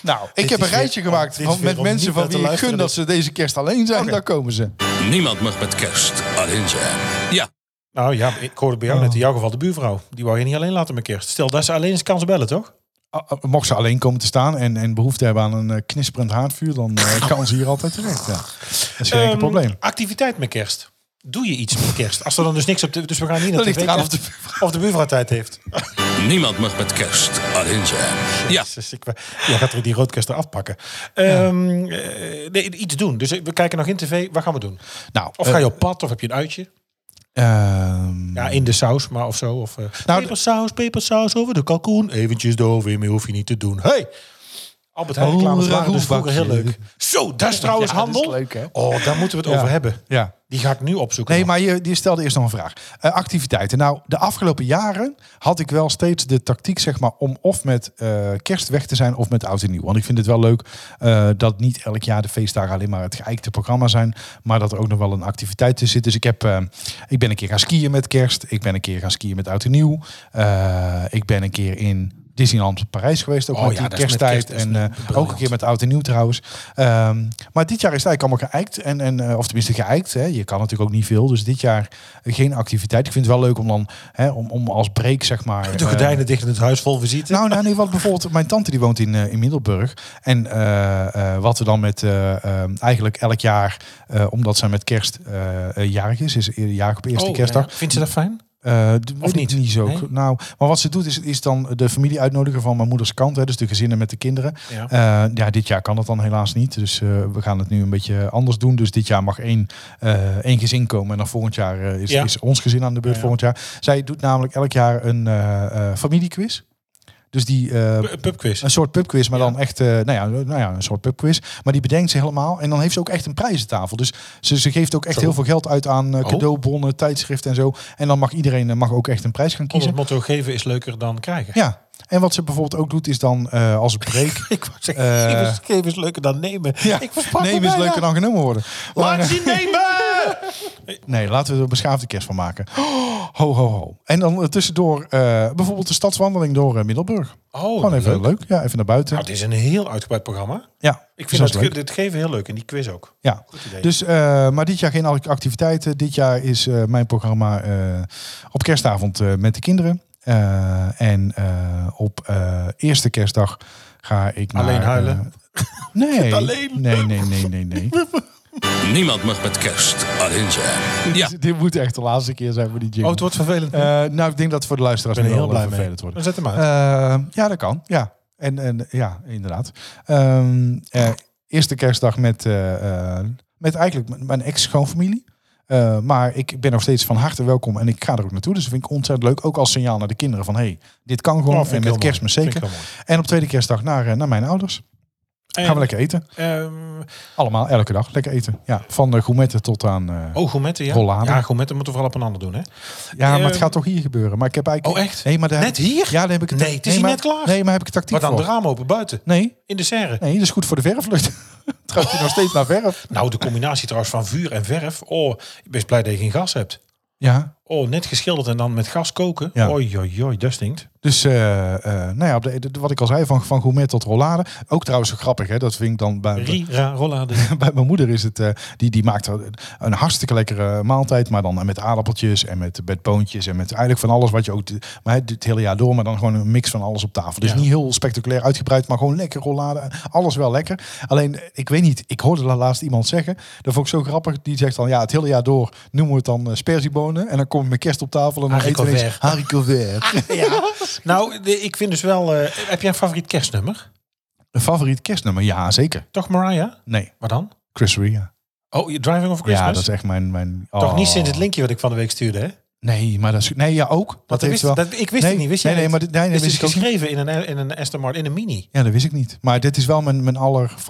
Nou, ik heb
is
een
weer- oh,
rijtje gemaakt
dit is
van,
weer
met
om
mensen
niet
van
naar te
wie ik gun
luisteren.
dat ze deze kerst alleen zijn. Daar komen ze.
niemand mag met kerst alleen zijn. Ja,
Nou ja, ik hoorde bij jou net in jouw geval de buurvrouw. Die wou je niet alleen laten met kerst. Stel dat ze alleen eens kan ze bellen, toch?
Ah, ah, Mocht ze alleen komen te staan en, en behoefte hebben aan een eh, knisperend haardvuur, dan eh, kan ze hier altijd terecht. Ja. Dat is geen enkel
Ehm,
probleem.
Activiteit met kerst. Doe je iets met kerst? Als er dan dus niks op de... Dus we gaan niet naar
Dat ligt
tv
eraan of
kijken.
de
of de buurvrouw tijd heeft.
niemand mag met kerst alleen zijn. Ja,
Oh, Jezus, ik, ja, gaat er die roodkerst eraf pakken. Ehm, eh, nee, iets doen. Dus we kijken nog in tv. Wat gaan we doen?
Nou,
Of
eh,
ga je op pad? Of heb je een uitje?
ehm,
Ja, in de saus, maar of zo. Of, eh,
Nou,
pepersaus, pepersaus over de kalkoen. Eventjes doof in, meer hoef je niet te doen. Hey! Albert Heijn
Oh,
reclames waren dus
ragoutbakje.
vroeger heel leuk. Zo, dat is trouwens
Ja, dat is
handel.
leuk, hè?
Oh, daar moeten we het
Ja.
over hebben.
Ja.
Die ga ik nu opzoeken.
Nee, maar je, je stelde eerst nog een vraag. Eh, activiteiten. Nou, de afgelopen jaren had ik wel steeds de tactiek, zeg maar, om of met eh, kerst weg te zijn of met oud en nieuw. Want ik vind het wel leuk eh, dat niet elk jaar de feestdagen alleen maar het geëikte programma zijn, maar dat er ook nog wel een activiteit tussen zit. Dus ik, heb, eh, ik ben een keer gaan skiën met kerst. Ik ben een keer gaan skiën met oud en nieuw. Eh, ik ben een keer in Disneyland Parijs geweest, ook
Oh
met
ja,
die
dat is met
kersttijd.
kerst,
en
dat is
eh, ook een
briljant.
keer met oud en nieuw trouwens. Ehm, maar dit jaar is het eigenlijk allemaal geëikt. En, en, eh, of tenminste geëikt. Hè. Je kan natuurlijk ook niet veel. Dus dit jaar geen activiteit. Ik vind het wel leuk om dan hè, om, om als break zeg maar...
de
eh,
gordijnen dicht in het huis vol visite.
nou, nou, nee, wat bijvoorbeeld mijn tante die woont in, eh, in Middelburg. En eh, eh, wat we dan met eh, eh, eigenlijk elk jaar, eh, omdat zij met kerst eh, eh, jarig is, is eerder jarig op eerste
Oh,
kerstdag.
ja. Vindt ze dat fijn?
Eh, d- weet ik
niet?
niet zo.
Nee?
Nou, maar wat ze doet is, is dan de familie uitnodigen van mijn moeders kant. Hè, dus de gezinnen met de kinderen.
Ja.
Eh, ja, dit jaar kan dat dan helaas niet. Dus eh, we gaan het nu een beetje anders doen. Dus dit jaar mag één, eh, één gezin komen. En dan volgend jaar eh, is,
Ja.
is ons gezin aan de beurt
Ja, ja.
volgend jaar. Zij doet namelijk elk jaar een eh, eh, familiequiz. Dus die eh,
P- Pubquiz.
een soort pubquiz, maar dan echt, eh, nou, ja, nou ja, een soort pubquiz. Maar die bedenkt ze helemaal. En dan heeft ze ook echt een prijzentafel. Dus ze, ze geeft ook echt
Zo.
heel veel geld uit aan eh,
Oh.
cadeaubonnen, tijdschriften en zo. En dan mag iedereen eh, mag ook echt een prijs gaan
Onder
kiezen.
het motto geven is leuker dan krijgen.
Ja. En wat ze bijvoorbeeld ook doet, is dan eh, als break.
Ik wou zeggen, geven, is, geven is leuker dan Eh, nemen.
Ja,
Ik verpak me
nemen is
bijna.
leuker dan genomen worden. Maar,
Laat
eh,
ze nemen!
nee, laten we er een beschaafde kerst van maken. Ho, ho, ho. En dan eh, tussendoor eh, bijvoorbeeld de stadswandeling door eh, Middelburg.
Oh,
Gewoon even leuk. Ja, even naar buiten.
Nou, het is een heel uitgebreid programma.
ja,
Ik
dus
vind
dat is
het,
leuk.
dit geven heel leuk en die quiz ook.
Ja,
idee.
dus, eh, maar dit jaar geen act- activiteiten. Dit jaar is eh, mijn programma eh, op kerstavond eh, met de kinderen. Eh, en eh, op eh, eerste kerstdag ga ik naar...
Alleen huilen?
eh, nee,
alleen.
nee, nee, nee, nee, nee.
niemand mag met kerst alleen zijn. Ja,
Dit, dit moet echt de laatste keer zijn voor die jingle.
Oh, wordt vervelend.
Eh, nou, ik denk dat het voor de luisteraars
Ik ben er
nu
heel
wel,
blij
eh,
mee.
vervelend wordt.
Dan zet hem uit.
Eh, ja, dat kan. Ja, en, en, ja inderdaad. Ehm, eh, eerste kerstdag met, eh, eh, met eigenlijk m- mijn ex-schoonfamilie. Eh, maar ik ben nog steeds van harte welkom en ik ga er ook naartoe. Dus dat vind ik ontzettend leuk. Ook als signaal naar de kinderen van... hey, dit kan gewoon
Nou, vind
en
ik heel
met
mooi.
kerstmis
Vind ik
zeker.
heel mooi.
En op tweede kerstdag naar, eh, naar mijn ouders.
En,
Gaan we lekker eten.
Eh, ehm,
Allemaal, elke dag. Lekker eten. Ja, van uh, gourmetten tot aan... eh,
oh, gourmetten, ja.
Rollade.
Ja, gourmetten moeten we vooral op een ander doen, hè?
ja, maar het
eh,
gaat toch hier gebeuren. Maar ik heb eigenlijk...
Oh, echt?
Nee, maar daar-
Net hier?
Ja, daar heb ik
Nee, het is hier
maar-
net klaar.
Nee, maar heb ik het tactiek
Maar dan de
voor.
ramen open buiten.
Nee,
In de serre.
Nee, dat is goed voor de verflucht. Het gaat hier nog steeds naar verf.
Nou, de combinatie trouwens van vuur en verf. Oh, ik ben best blij dat je geen gas hebt.
Ja.
Oh, net geschilderd en dan met gas koken.
Ja.
Oei, oei, oei, dat stinkt.
Dus eh, eh, nou ja, op de- de- wat ik al zei, van, van gourmet tot rollade. Ook trouwens zo grappig, hè? dat vind ik dan bij,
Rira, rollade.
bij mijn moeder is het, eh, die, die maakt er een hartstikke lekkere maaltijd, maar dan met aardappeltjes en met, met boontjes en met eigenlijk van alles wat je ook, maar het- het hele jaar door, maar dan gewoon een mix van alles op tafel. Dus
Ja.
niet heel spectaculair uitgebreid, maar gewoon lekker rollade, alles wel lekker. Alleen, ik weet niet, ik hoorde la- laatst iemand zeggen, dat vond ik zo grappig, die zegt dan, ja, het hele jaar door noemen we het dan eh, sperziebonen en dan kom je met kerst op tafel en dan
Haricot
eten we ineens
vert.
haricot vert.
nou, de- ik vind dus wel... eh, heb jij een favoriet kerstnummer?
Een favoriet kerstnummer? Ja, zeker.
Toch Mariah?
Nee,
Wat dan?
Chris Ria.
Oh, je Driving Over Christmas?
Ja, dat is echt mijn... mijn
Toch niet
oh.
sinds het linkje wat ik van de week stuurde, hè?
Nee, maar dat is... Nee, ja, ook. Dat,
Want ik
heeft
wist,
wel...
dat, ik wist
nee,
het niet, wist
nee, nee,
jij het?
maar dit- nee, nee,
Dit is
wist ik ook niet.
geschreven in een, E- in een Aston Martin, in een mini.
Ja, dat wist ik niet. Maar dit is wel mijn, mijn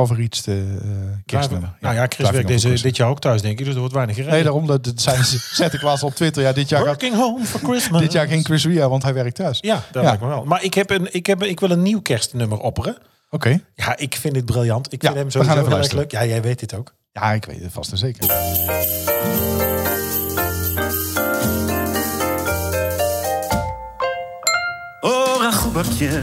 allerfavorietste eh kerstnummer.
Nou ja, Chris
Driving
werkt
Over
deze,
Christmas.
dit jaar ook thuis, denk ik. Dus er wordt weinig gereden.
Nee, daarom dat, dat zijn ze, zet ik laatst op Twitter. Ja, dit jaar, gaat-
Working home for Christmas.
dit jaar geen Chris Ria, want hij werkt thuis.
Ja, dat
Ja.
lijkt me wel. Maar ik, heb een, ik, heb, een- ik wil een nieuw kerstnummer opperen.
Oké.
Ja, ik vind dit briljant. Ik
Ja,
vind hem
we
sowieso
gaan even
heel erg
luisteren.
leuk. Ja, jij weet dit ook.
Ja, ik weet het vast en zeker.
Oh, ragoebakje,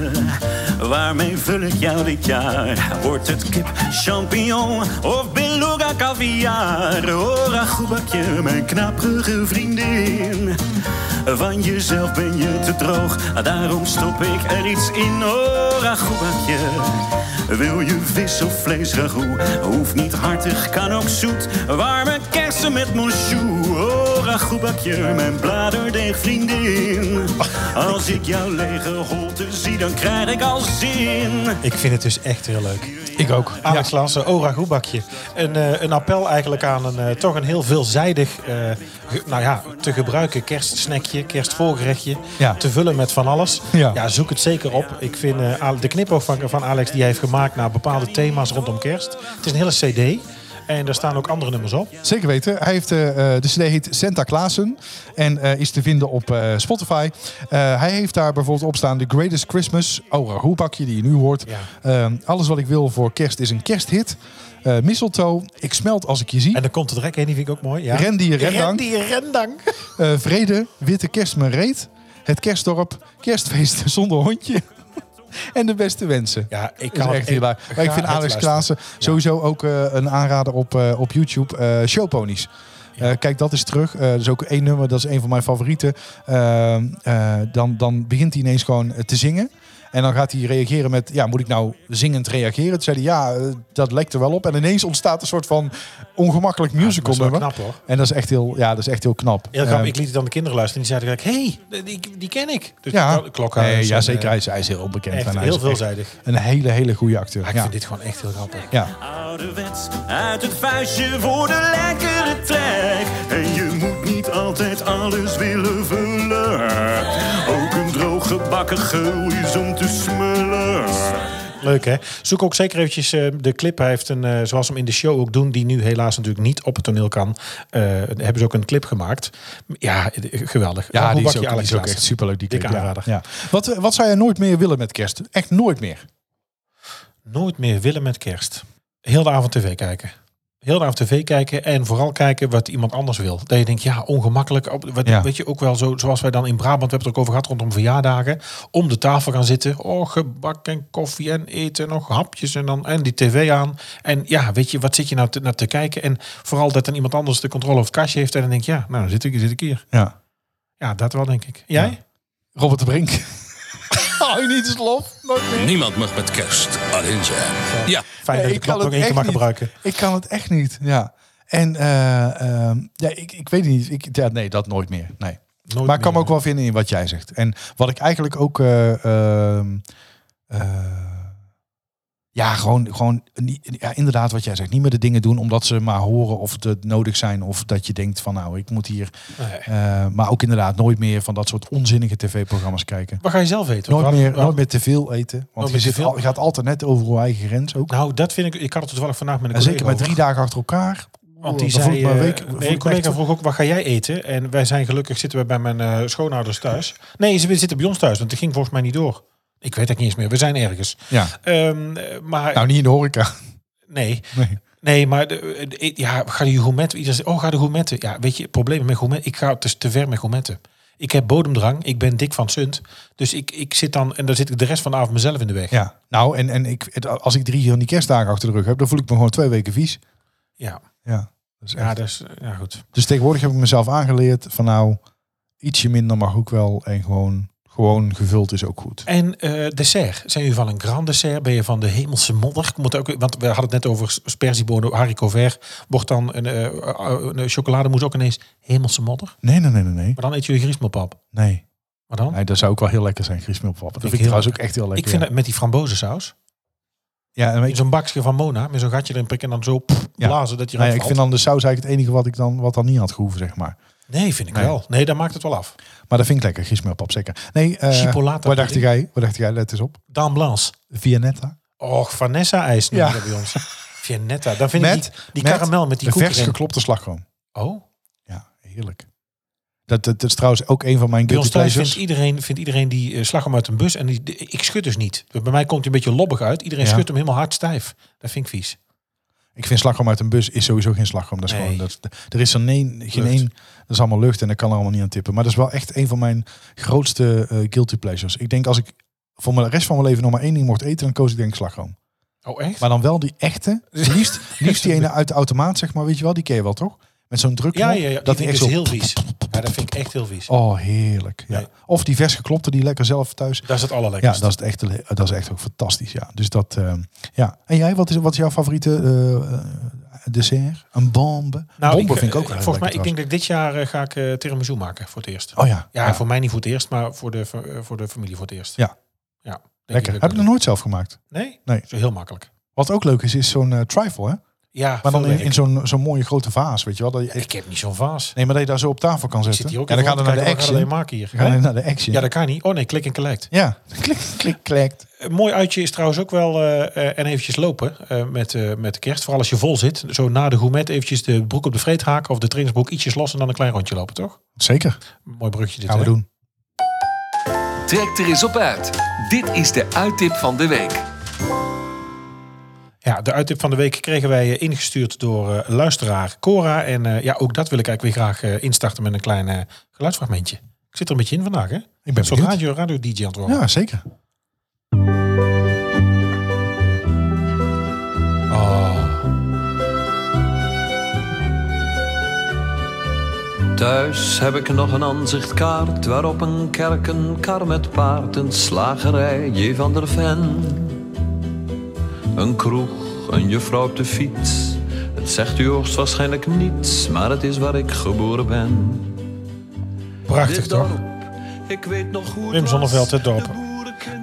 waarmee vul ik jou dit jaar? Wordt het kip, champignon of beluga caviar? Oh, ragoebakje, mijn knapperige vriendin. Van jezelf ben je te droog, daarom stop ik er iets in. Oh, ragoebakje, wil je vis of vlees ragout? Hoeft niet hartig, kan ook zoet. Warme kersen met monsjoe. Oh, ragoebakje, mijn bladerdeegvriendin. Als ik jouw lege holte zie, dan krijg ik al zin.
Ik vind het dus echt heel leuk.
Ik ook.
Alex Lansen, Ora Goebakje. Een, eh, een appel eigenlijk aan een eh, toch een heel veelzijdig, eh, ge- nou ja, te gebruiken kerstsnackje, kerstvolgerechtje.
Ja.
Te vullen met van alles.
Ja.
zoek het zeker op. Ik vind eh, Ale- de knipoog van, van Alex die hij heeft gemaakt naar bepaalde thema's rondom kerst. Het is een hele cd. En daar staan ook andere nummers op.
Zeker weten. Hij heeft, eh, eh, de CD heet Santa Klaassen en eh, is te vinden op eh, Spotify. Eh, hij heeft daar bijvoorbeeld op staan The Greatest Christmas, Aura Hoepakje die je nu hoort.
Ja.
Ehm, alles wat ik wil voor kerst is een kersthit. Eh mistletoe, ik smelt als ik je zie.
En dan komt het rek heen, die vind ik ook mooi. Ja.
Rendier, rendang.
Rendier, rendang.
Eh, vrede, witte kerst mijn reet. Het kerstdorp, kerstfeest zonder hondje. en de beste wensen.
Ja,
Dat
ik kan
is
het
echt heel leuk. Maar ik
ga
vind
het
Alex
luisteren.
Klaassen sowieso ook eh, een aanrader op, eh, op YouTube. eh Showponies. Eh, kijk, dat is terug. Eh dat is ook één nummer, dat is een van mijn favorieten. Ehm, eh, dan, dan begint hij ineens gewoon eh, te zingen. En dan gaat hij reageren met, ja, moet ik nou zingend reageren? Toen zei hij, ja, eh, dat lekt er wel op. En ineens ontstaat een soort van ongemakkelijk musical
dat is wel
nummer.
knap, hoor.
En dat is echt heel, ja, dat is echt heel knap.
Heel grappig,
Ehm,
ik liet het aan de kinderen luisteren. En die zeiden gelijk, hé, hey, die, die ken ik. Dus
ja,
klokhuis.
Nee, ja
en,
zeker.
eh,
Hij is, hij is heel onbekend.
echt
en hij
heel
is echt
veelzijdig.
Een hele, hele goede acteur.
ja, ik
ja.
vind dit gewoon echt heel grappig.
ja.
Ouderwets, uit het vuistje voor de lekkere trek. En je moet niet altijd alles willen vullen. Ook een droge bakken geul is om te smullen.
Leuk hè? Zoek ook zeker eventjes eh, de clip. Hij heeft een, eh, zoals we hem in de show ook doen, die nu helaas natuurlijk niet op het toneel kan. eh, hebben ze ook een clip gemaakt. Ja, eh, geweldig.
Ja,
Hoe
die is,
bak je
ook, die
Alex
is ook
Klaassen?
echt superleuk, die
Dikke
clip, ja.
aanrader.
Ja. Wat, eh, wat zou jij nooit meer willen met kerst? Echt nooit meer.
Nooit meer willen met kerst. Heel de avond tv kijken. Heel de avond tv kijken en vooral kijken wat iemand anders wil. Dat je denkt, ja, ongemakkelijk. Op- Wat,
Ja.
Weet je, ook wel zo, zoals wij dan in Brabant, we hebben het er ook over gehad rondom verjaardagen. Om de tafel gaan zitten. Oh, gebak en koffie en eten, nog hapjes en dan en die tv aan. En ja, weet je, wat zit je nou te, naar te kijken? En vooral dat dan iemand anders de controle over het kastje heeft. En dan denk je, ja, nou, dan zit ik, zit ik hier.
Ja.
Ja, dat wel, denk ik. Jij?
Robert de Brink. Hou je niet eens lof? Nooit meer.
Niemand mag met kerst alleen zijn. Ja,
Fijn dat
Nee,
je de klap nog één keer
echt
mag
niet.
gebruiken.
Ik kan het echt niet, ja. En eh, ehm, ja, ik, ik weet het niet. Ik, ja, nee, dat nooit meer. Nee.
Nooit
maar ik kan me
meer.
ook wel vinden in wat jij zegt. En wat ik eigenlijk ook... eh, ehm, eh, ja, gewoon, gewoon niet- ja, inderdaad wat jij zegt. Niet meer de dingen doen omdat ze maar horen of het nodig zijn. Of dat je denkt van nou, ik moet hier...
Nee.
eh, maar ook inderdaad nooit meer van dat soort onzinnige tv-programma's kijken.
Wat ga je zelf eten?
Nooit
Waar-
meer,
waar-
nooit meer te veel eten. Want
Nooit
je,
meer te
zit
veel?
al- je gaat altijd net over je eigen grens ook.
Nou, dat vind ik. Ik had het toevallig vandaag met een
En
collega.
zeker met
over.
drie dagen achter elkaar.
Want die
Dan voel
zei,
ik me een
eh,
week-
nee,
voel ik
een
me
collega
echt-
vroeg ook, wat ga jij eten? En wij zijn gelukkig, zitten we bij mijn eh, schoonouders thuis. Nee, ze zitten bij ons thuis, want het ging volgens mij niet door. Ik weet het niet eens meer, we zijn ergens.
Ja.
Ehm, eh, maar
Nou, niet in de horeca.
nee,
Nee.
Nee, maar de, de- ja, ga die gourmetten. Iedereen zegt, oh, ga de gourmetten. Ja, weet je, het probleem met gourmetten. Ik ga dus te ver met gourmetten. Ik heb bodemdrang. Ik ben dik van sunt. Dus ik, ik zit dan, en dan zit ik de rest van de avond mezelf in de weg. Ja,
Ja, nou, en, en ik, het- als ik drie van die kerstdagen achter de rug heb, dan voel ik me gewoon twee weken vies.
ja.
Ja, dat is echt-
dus, ja goed.
Dus tegenwoordig heb ik mezelf aangeleerd van nou, ietsje minder mag ook wel. En gewoon, gewoon gevuld is ook goed.
En eh, dessert. Zijn jullie van een grand dessert? Ben je van de hemelse modder? Moet ook, want we hadden het net over sperziebonen, haricot vert. Wordt dan een, eh, eh, een chocolademousse ook ineens hemelse modder?
Nee, nee, nee, nee, nee.
Maar dan eet jullie griesmeelpap.
Nee,
Maar dan?
nee dat zou ook wel heel lekker zijn, griesmeelpap. Dat vind ik
heel
trouwens ook echt heel lekker.
ik vind
ja.
dat met die frambozensaus.
ja, en ik,
In zo'n bakje van Mona. Met zo'n gatje erin prikken en dan zo pff,
Ja.
blazen dat je
nou ja,
eruit
ik vind dan
valt.
de saus eigenlijk het enige wat ik dan, wat dan niet had gehoeven, zeg maar.
Nee, vind ik
Nee.
wel. Nee, dat maakt het wel af.
Maar dat vind ik lekker, griesmeelpap, zeker. Nee, eh,
Chipolata
wat dacht
pudding.
jij? Wat dacht jij? Let eens op.
Dame Blanche.
Vianetta.
Och, Vanessa-ijs
Ja.
noemen we dat bij ons. Vianetta. Dan vind ik die, die karamel met die
de
koek
vers
erin.
geklopte slagroom.
Oh,
Ja, heerlijk. Dat, dat, dat is trouwens ook een van mijn
bij ons
guilty
thuis vindt
pleasures.
iedereen, vindt iedereen die eh, slagroom uit een bus. En die, de- ik schud dus niet. Bij mij komt hij een beetje lobbig uit. Iedereen
Ja.
schudt hem helemaal hard stijf. Dat vind ik vies.
Ik vind slagroom uit een bus is sowieso geen slagroom. Dat is
Nee.
gewoon, dat, er is er geen, geen
Lucht.
één, dat is allemaal lucht en dat kan er allemaal niet aan tippen. Maar dat is wel echt een van mijn grootste eh, guilty pleasures. Ik denk als ik voor mijn- de rest van mijn leven nog maar één ding mocht eten, dan koos ik denk ik slagroom.
Oh, echt?
Maar dan wel die echte, liefst, liefst die ene uit de automaat, zeg maar, weet je wel, die ken je wel toch? Met zo'n druk.
ja, ja, ja.
dat die echt
vind ik dus
zo...
heel vies. Ja, dat vind ik echt heel vies.
Oh, heerlijk. Ja.
Nee.
Of die vers geklopte die lekker zelf thuis.
Dat is het
Ja,
allerlekkerst.
dat is, het echt, dat is echt ook fantastisch. Ja. Dus dat, ehm, ja. En jij, wat is, wat is jouw favoriete eh, eh, dessert? Een bombe? bombe vind ik ook wel heel
Volgens mij, Nou, ik
lekker
denk dat ik dit jaar eh, ga ik eh, tiramisu maken voor het eerst.
trouwens. Oh ja,
Ja,
ja,
voor mij niet voor het eerst, maar voor de, voor, eh, voor de familie voor het eerst.
Ja.
ja denk
lekker. Heb
ik dat
ik
ik
nog
doe.
nooit zelf gemaakt.
Nee?
Nee.
Zo heel makkelijk.
Wat ook leuk is, is zo'n eh, trifle, hè?
Ja,
Maar dan
veel
in,
werk.
in zo'n zo'n mooie grote vaas, weet je wel? Dat je,
Ik heb niet zo'n vaas.
nee, maar dat je daar zo op tafel kan
Ik
zetten.
zit hier ook
en dan
even
gaan we
rond
naar
te
de
kijken, wat
action. We
gaan we alleen maken
gaan
hier. Hè?
naar de action.
Ja, dat kan niet. Oh nee, klik en collect.
Ja, klik, klik, klekt.
Een mooi uitje is trouwens ook wel, eh, eh, en eventjes lopen eh, met, eh, met de kerst. Vooral als je vol zit. Zo na de gourmet eventjes de broek op de vreet haken of de trainingsbroek ietsjes los en dan een klein rondje lopen, toch?
Zeker,
Mooi brugje dit,
gaan we
hè?
doen.
Trek er eens op uit. Dit is de uittip van de week.
Ja, de uittip van de week kregen wij eh, ingestuurd door eh, luisteraar Cora. En eh, ja, ook dat wil ik eigenlijk weer graag eh, instarten met een klein eh, geluidsfragmentje. Ik zit er een beetje in vandaag, hè?
Ik ben
Zo'n
benieuwd.
radio, radio DJ aan het worden.
Ja, zeker.
Thuis heb ik nog een aanzichtkaart waarop een kerk, een kar met paard, een slagerij, J. van der Ven. Een kroeg, een juffrouw op de fiets. Het zegt u hoogstwaarschijnlijk niets, maar het is waar ik geboren ben.
Prachtig, toch?
ik weet nog goed.
Wim Zonneveld, het dorp.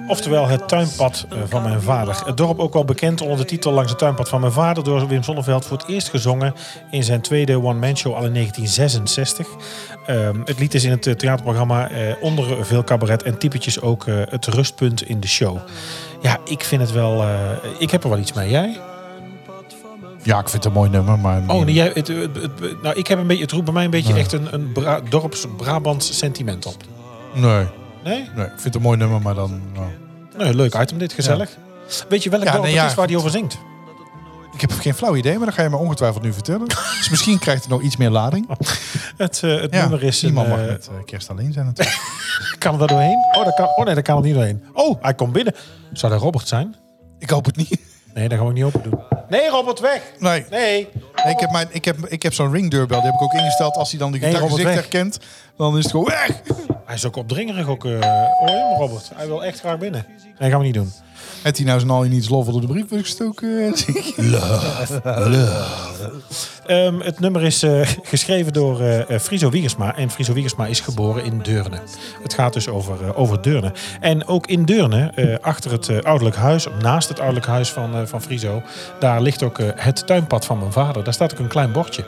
Oftewel het tuinpad eh, van mijn vader. Het dorp ook wel bekend onder de titel Langs het tuinpad van mijn vader... door Wim Zonneveld voor het eerst gezongen in zijn tweede one-man show al in 1966. Ehm, het lied is in het eh, theaterprogramma eh, onder veel cabaret... en typetjes ook eh, het rustpunt in de show. Ja, ik vind het wel... eh, ik heb er wel iets mee. Jij?
Ja, ik vind het een mooi nummer, maar...
Oh, nee, jij, het, het- het- nou, ik heb een beetje, het roept bij mij een beetje echt een, een Bra- dorps-Brabants sentiment op.
nee,
Nee?
nee, ik vind het een mooi nummer, maar dan... nou.
Nee, leuk item dit, gezellig. Weet je welk
Ja,
dorp
nee,
het
ja,
is waar hij over zingt?
Ik heb geen flauw idee, maar dat ga je me ongetwijfeld nu vertellen. dus misschien krijgt het nog iets meer lading.
Het, eh, het nummer is...
iemand
een,
mag
eh,
met eh, kerst alleen zijn natuurlijk.
Kan er daar doorheen? Oh, dat kan, oh nee, daar kan er niet doorheen. Oh, hij komt binnen. Zou dat Robert zijn?
ik hoop het niet.
Nee, dat gaan we niet open doen. Nee, Robert, weg!
Nee,
Nee!
Nee, ik heb, mijn- ik heb, ik heb zo'n ringdeurbel, die heb ik ook ingesteld. Als hij dan de
Nee,
gitaar
Robert,
gezicht
weg.
herkent, dan is het gewoon weg.
Hij is ook opdringerig. Ook, eh hoor je hem, Robert? Hij wil echt graag binnen. Nee, gaan we niet doen.
Het hij nou zijn al in iets lof onder de brief gestoken?
Ehm, het nummer is eh, geschreven door eh, eh, Friso Wiegersma. En Friso Wiegersma is geboren in Deurne. Het gaat dus over, eh, over Deurne. En ook in Deurne, eh, achter het eh, ouderlijk huis, of naast het ouderlijk huis van, eh, van Friso... daar ligt ook eh, het tuinpad van mijn vader. Daar staat ook een klein bordje.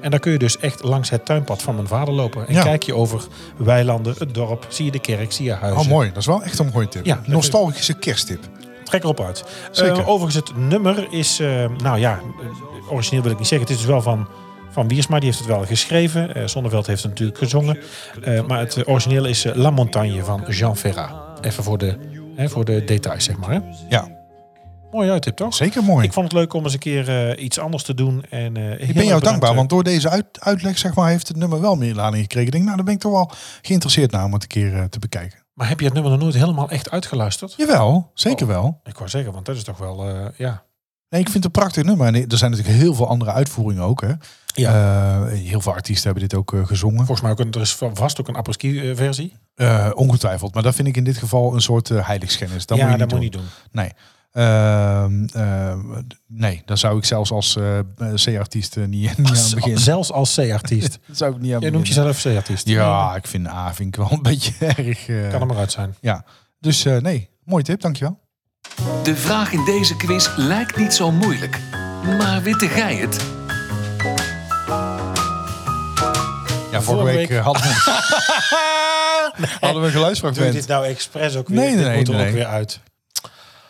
En daar kun je dus echt langs het tuinpad van mijn vader lopen. En
Ja.
kijk je over weilanden, het dorp, zie je de kerk, zie je huizen.
Oh, mooi. Dat is wel echt een mooie tip.
Ja,
Nostalgische kersttip.
Trek erop uit.
Zeker.
Eh, overigens, het nummer is... eh, nou ja, eh, origineel wil ik niet zeggen. Het is dus wel van, van Wiersma. Die heeft het wel geschreven. Eh Zonneveld heeft het natuurlijk gezongen. Eh, maar het eh, origineel is eh, La Montagne van Jean Ferrat. Even voor de, hè, voor de details, zeg maar. Hè?
Ja.
mooi uittip, toch?
Zeker mooi.
Ik vond het leuk om eens een keer eh, iets anders te doen. En, eh, heel erg
Ik ben jou
bedankt,
dankbaar,
eh,
want door deze uit- uitleg zeg maar, heeft het nummer wel meer lading gekregen. Ik denk, nou, daar ben ik toch wel geïnteresseerd naar om het een keer eh, te bekijken.
Maar heb je het nummer nog nooit helemaal echt uitgeluisterd?
Jawel,
Oh.
zeker wel.
Ik wou zeggen, want dat is toch wel... eh, ja.
Nee, ik vind het een prachtig nummer. En er zijn natuurlijk heel veel andere uitvoeringen ook. Hè. Eh, heel veel artiesten hebben dit ook eh, gezongen.
Volgens mij ook een, er is vast ook een apres-ski versie.
Eh, ongetwijfeld. Maar dat vind ik in dit geval een soort eh, heiligschennis. Dat
ja,
moet je
dat
niet
moet
doen.
je niet doen.
Nee. Ehm, ehm, d- nee, daar zou ik zelfs als eh, C-artiest eh, niet, niet aan beginnen.
Zelfs als C-artiest.
Daar zou ik niet aan
Jij noemt
beginnen.
jezelf C-artiest.
Ja, ik vind A vind ik wel een beetje erg. eh,
Kan er maar uit zijn.
ja. Dus eh, nee, mooie tip, dankjewel.
De vraag in deze quiz lijkt niet zo moeilijk. Maar witte gij het?
Ja, vorige
vorige
week,
week,
eh, hadden, we, hadden we een
Doe je dit
geluidsfragment.
nou expres ook weer?
Nee, nee,
Dit
nee,
moet er
nee.
ook weer uit.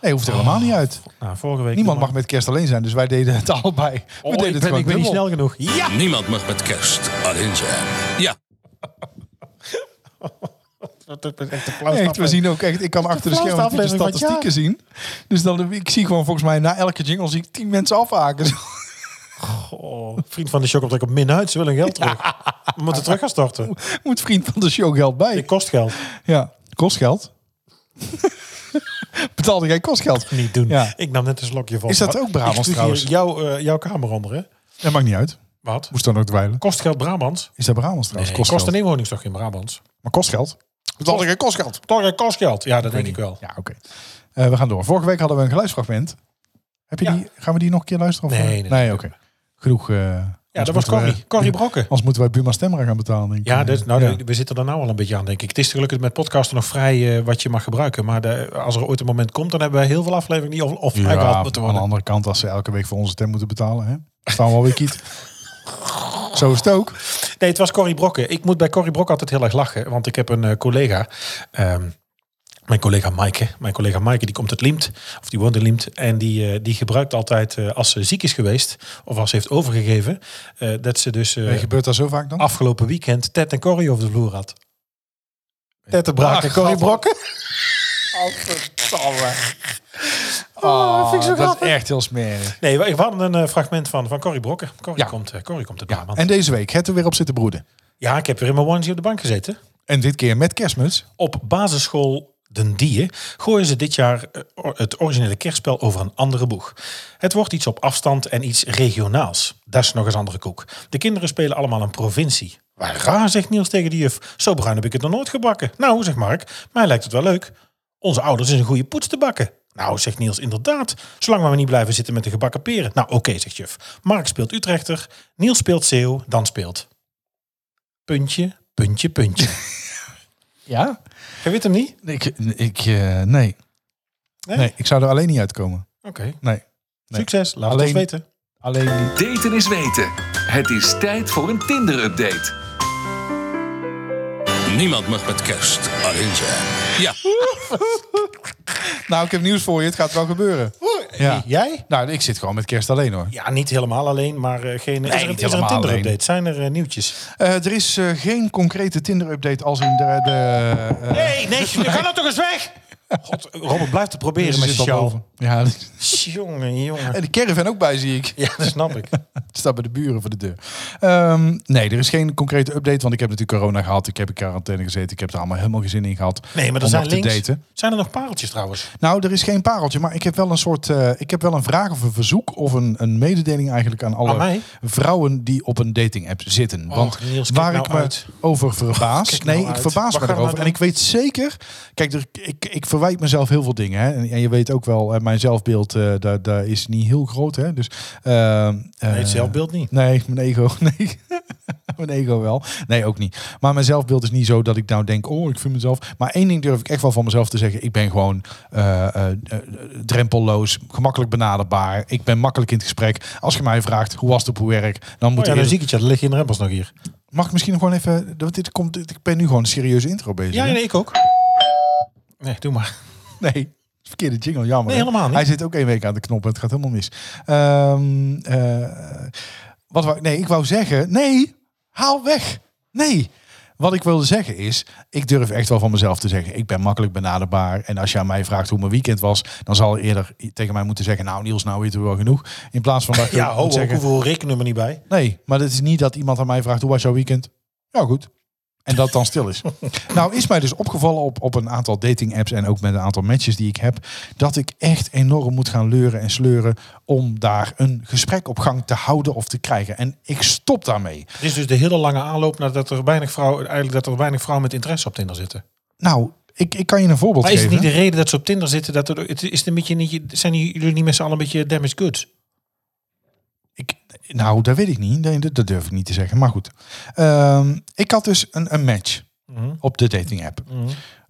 Nee, hoeft er helemaal niet uit.
Nou, vorige week...
Niemand mag met kerst alleen zijn, dus wij deden het allebei. We
Oh,
deden het
ik ben,
gewoon
ik ben niet
dubbel.
snel genoeg. Ja!
Niemand mag met kerst alleen zijn. Ja,
Dat is echt de flauwste
Echt, we
aflevering.
zien ook echt, ik kan achter de
flauwste
schermen de
aflevering van het
statistieken zien. Dus dan, ik zie gewoon volgens mij na elke jingle zie ik tien mensen afhaken.
Oh, vriend van de show komt ook op min uit. Ze willen hun geld terug. We moeten terug gaan storten.
Moet vriend van de show geld
Dit
bij.
kost geld.
Ja, kostgeld. Betaalde jij kostgeld?
Niet doen.
Ja.
Ik nam net een slokje van.
Is dat ook Brabants
Ik stuur hier
trouwens?
Jouw, eh, jouw kamer onder, hè?
Dat maakt niet uit.
Wat?
Moest dan ook dwijlen.
Kost geld Brabants?
Is dat Brabants trouwens?
Nee,
kostgeld.
kost een inwoning toch in Brabants?
Maar kostgeld? Betaalde jij kostgeld?
Toch eh, kost geld? Ja, dat denk ik wel.
Ja, oké. Eh, we gaan door. Vorige week hadden we een geluidsfragment. Heb je
Ja.
die, gaan we die nog een keer luisteren? Of
Nee, nee, nee.
oké. Genoeg. eh,
Ja,
anders
dat was
moeten we-
Corrie. Corrie Brokken.
Anders moeten wij Buma Stemra gaan betalen, denk ik.
Ja, dus, nou,
Eh, Ja.
we zitten er nou al een beetje aan, denk ik. Het is gelukkig met podcasten nog vrij eh, wat je mag gebruiken. Maar de- als er ooit een moment komt, dan hebben we heel veel afleveringen die of, of
Ja,
uitgehaald
aan de
moeten worden.
andere kant, als ze elke week voor onze stem moeten betalen, hè? staan we alweer kiet. Zo is het ook.
Nee, het was Corrie Brokken. Ik moet bij Corrie Brok altijd heel erg lachen. Want ik heb een eh, collega. ehm, mijn collega Maaike. Mijn collega Maaike die komt uit Liemt. Of die woont in Liemt. En die, eh, die gebruikt altijd eh, als ze ziek is geweest. Of als ze heeft overgegeven. eh, dat ze dus eh,
Eh, gebeurt dat zo vaak dan?
afgelopen weekend Ted en Corrie over de vloer had. Ted de Braak en Corrie Brokken.
oh, vind ik zo dat is echt heel smerig.
Nee, we we hadden een eh, fragment van, van Corrie Brokken. Corrie,
Ja.
komt, eh, Corrie komt uit
Ja,
Brabant. Ja,
en deze week, het er weer op zitten broeden.
ik heb weer in mijn onesie op de bank gezeten.
En dit keer met kerstmuts.
Op basisschool Den Dieën gooien ze dit jaar eh, or- het originele kerstspel over een andere boeg. Het wordt iets op afstand en iets regionaals. Dat is nog eens andere koek. De kinderen spelen allemaal een provincie. Waar raar, zegt Niels tegen de juf. Zo bruin heb ik het nog nooit gebakken. Nou, zegt Mark, mij lijkt het wel leuk. Onze ouders is een goede poets te bakken. Nou, zegt Niels, inderdaad. Zolang we maar niet blijven zitten met de gebakken peren. Nou, oké, zegt juf. Mark speelt Utrechter, Niels speelt Zeeuw, dan speelt... Puntje, puntje, puntje.
Ja?
Je weet hem niet?
Ik, ik eh, nee. nee.
Nee?
ik zou er alleen niet uitkomen.
Oké.
Nee. Nee.
Succes. Laat
Alleen-
het ons weten.
Alleen niet.
Daten is weten. Het is tijd voor een Tinder-update.
niemand mag met kerst alleen zijn. Ja,
Nou, ik heb nieuws voor je. Het gaat wel gebeuren. Ja.
Jij?
Nou, ik zit gewoon met kerst alleen hoor.
Ja, niet helemaal alleen, maar eh, geen. is
niet
er, is er een
helemaal
Tinder
alleen.
update? Zijn er eh, nieuwtjes?
Eh, er is eh, geen concrete Tinder-update als in de... de eh,
Nee, nee, we gaan dat toch eens weg! God, Robert blijft het proberen
ze
met
zit
je
al
sjaal.
boven. Ja, dat-
Jongen, jongen.
en de caravan ook bij, zie ik.
Ja, dat snap ik.
Het staat bij de buren voor de deur. Ehm, nee, er is geen concrete update, want ik heb natuurlijk corona gehad. Ik heb in quarantaine gezeten. Ik heb er allemaal helemaal geen zin in gehad
Nee, maar
om
er zijn
nog te
links.
daten.
Zijn er nog pareltjes trouwens? Oh
Nou, er is geen pareltje, maar ik heb wel een soort... eh, ik heb wel een vraag of een verzoek of een, een mededeling eigenlijk aan alle
Aan mij?
vrouwen die op een dating app zitten.
Och,
want
Niels, kijk
waar
nou
ik me
uit.
over verbaas...
Kijk nou
nee, ik
uit.
verbaas
Wat
me
gaan we nou
erover. En
doen?
ik weet zeker... Kijk, er, ik, ik verwijt mezelf heel veel dingen. Hè. En, en je weet ook wel, eh, mijn zelfbeeld eh daar, daar is niet heel groot. Hè. Dus, ehm,
Nee,
eh,
het zelfbeeld niet.
Nee, mijn ego. Nee. mijn ego wel. Nee, ook niet. Maar mijn zelfbeeld is niet zo dat ik nou denk, oh, ik vind mezelf. Maar één ding durf ik echt wel van mezelf te zeggen. Ik ben gewoon eh, eh, eh, drempelloos, gemakkelijk benaderbaar. Ik ben makkelijk in het gesprek. Als je mij vraagt, hoe was het op uw werk? Dan moet
Oh, ja,
ik
dan zie ik het. Ja, dan lig je in de rempels nog hier.
Mag ik misschien gewoon even... want Dit komt, dit- ik ben nu gewoon een serieuze intro bezig.
Ja,
hè?
nee, ik ook. Nee, doe maar.
Nee, verkeerde jingle, jammer.
Nee,
hè?
helemaal niet.
Hij zit ook één week aan de knop en het gaat helemaal mis. Ehm, eh, wat wou, nee, ik wou zeggen, nee, haal weg. Nee, Wat ik wilde zeggen is, ik durf echt wel van mezelf te zeggen, ik ben makkelijk benaderbaar. En als je aan mij vraagt hoe mijn weekend was, dan zal je eerder tegen mij moeten zeggen, nou Niels, nou weten we wel genoeg. In plaats van dat je
Ja, ho,
moet
ho, ik
zeggen,
hoef er rekening maar niet bij.
Nee, maar het is niet dat iemand aan mij vraagt hoe was jouw weekend? Ja, goed. En dat het dan stil is. nou, is mij dus opgevallen op, op een aantal dating apps en ook met een aantal matches die ik heb, dat ik echt enorm moet gaan leuren en sleuren om daar een gesprek op gang te houden of te krijgen. En ik stop daarmee.
Het is dus de hele lange aanloop nadat er weinig vrouwen, eigenlijk dat er weinig vrouwen met interesse op Tinder zitten.
Nou, ik, ik kan je een voorbeeld
Maar is
geven.
het niet de reden dat ze op Tinder zitten? Dat er, het is het een beetje niet, zijn jullie niet met z'n allen een beetje damaged goods?
Ik, nou, dat weet ik niet. Nee, dat, dat durf ik niet te zeggen. Maar goed. Ehm, ik had dus een, een match
Mhm.
op de dating app.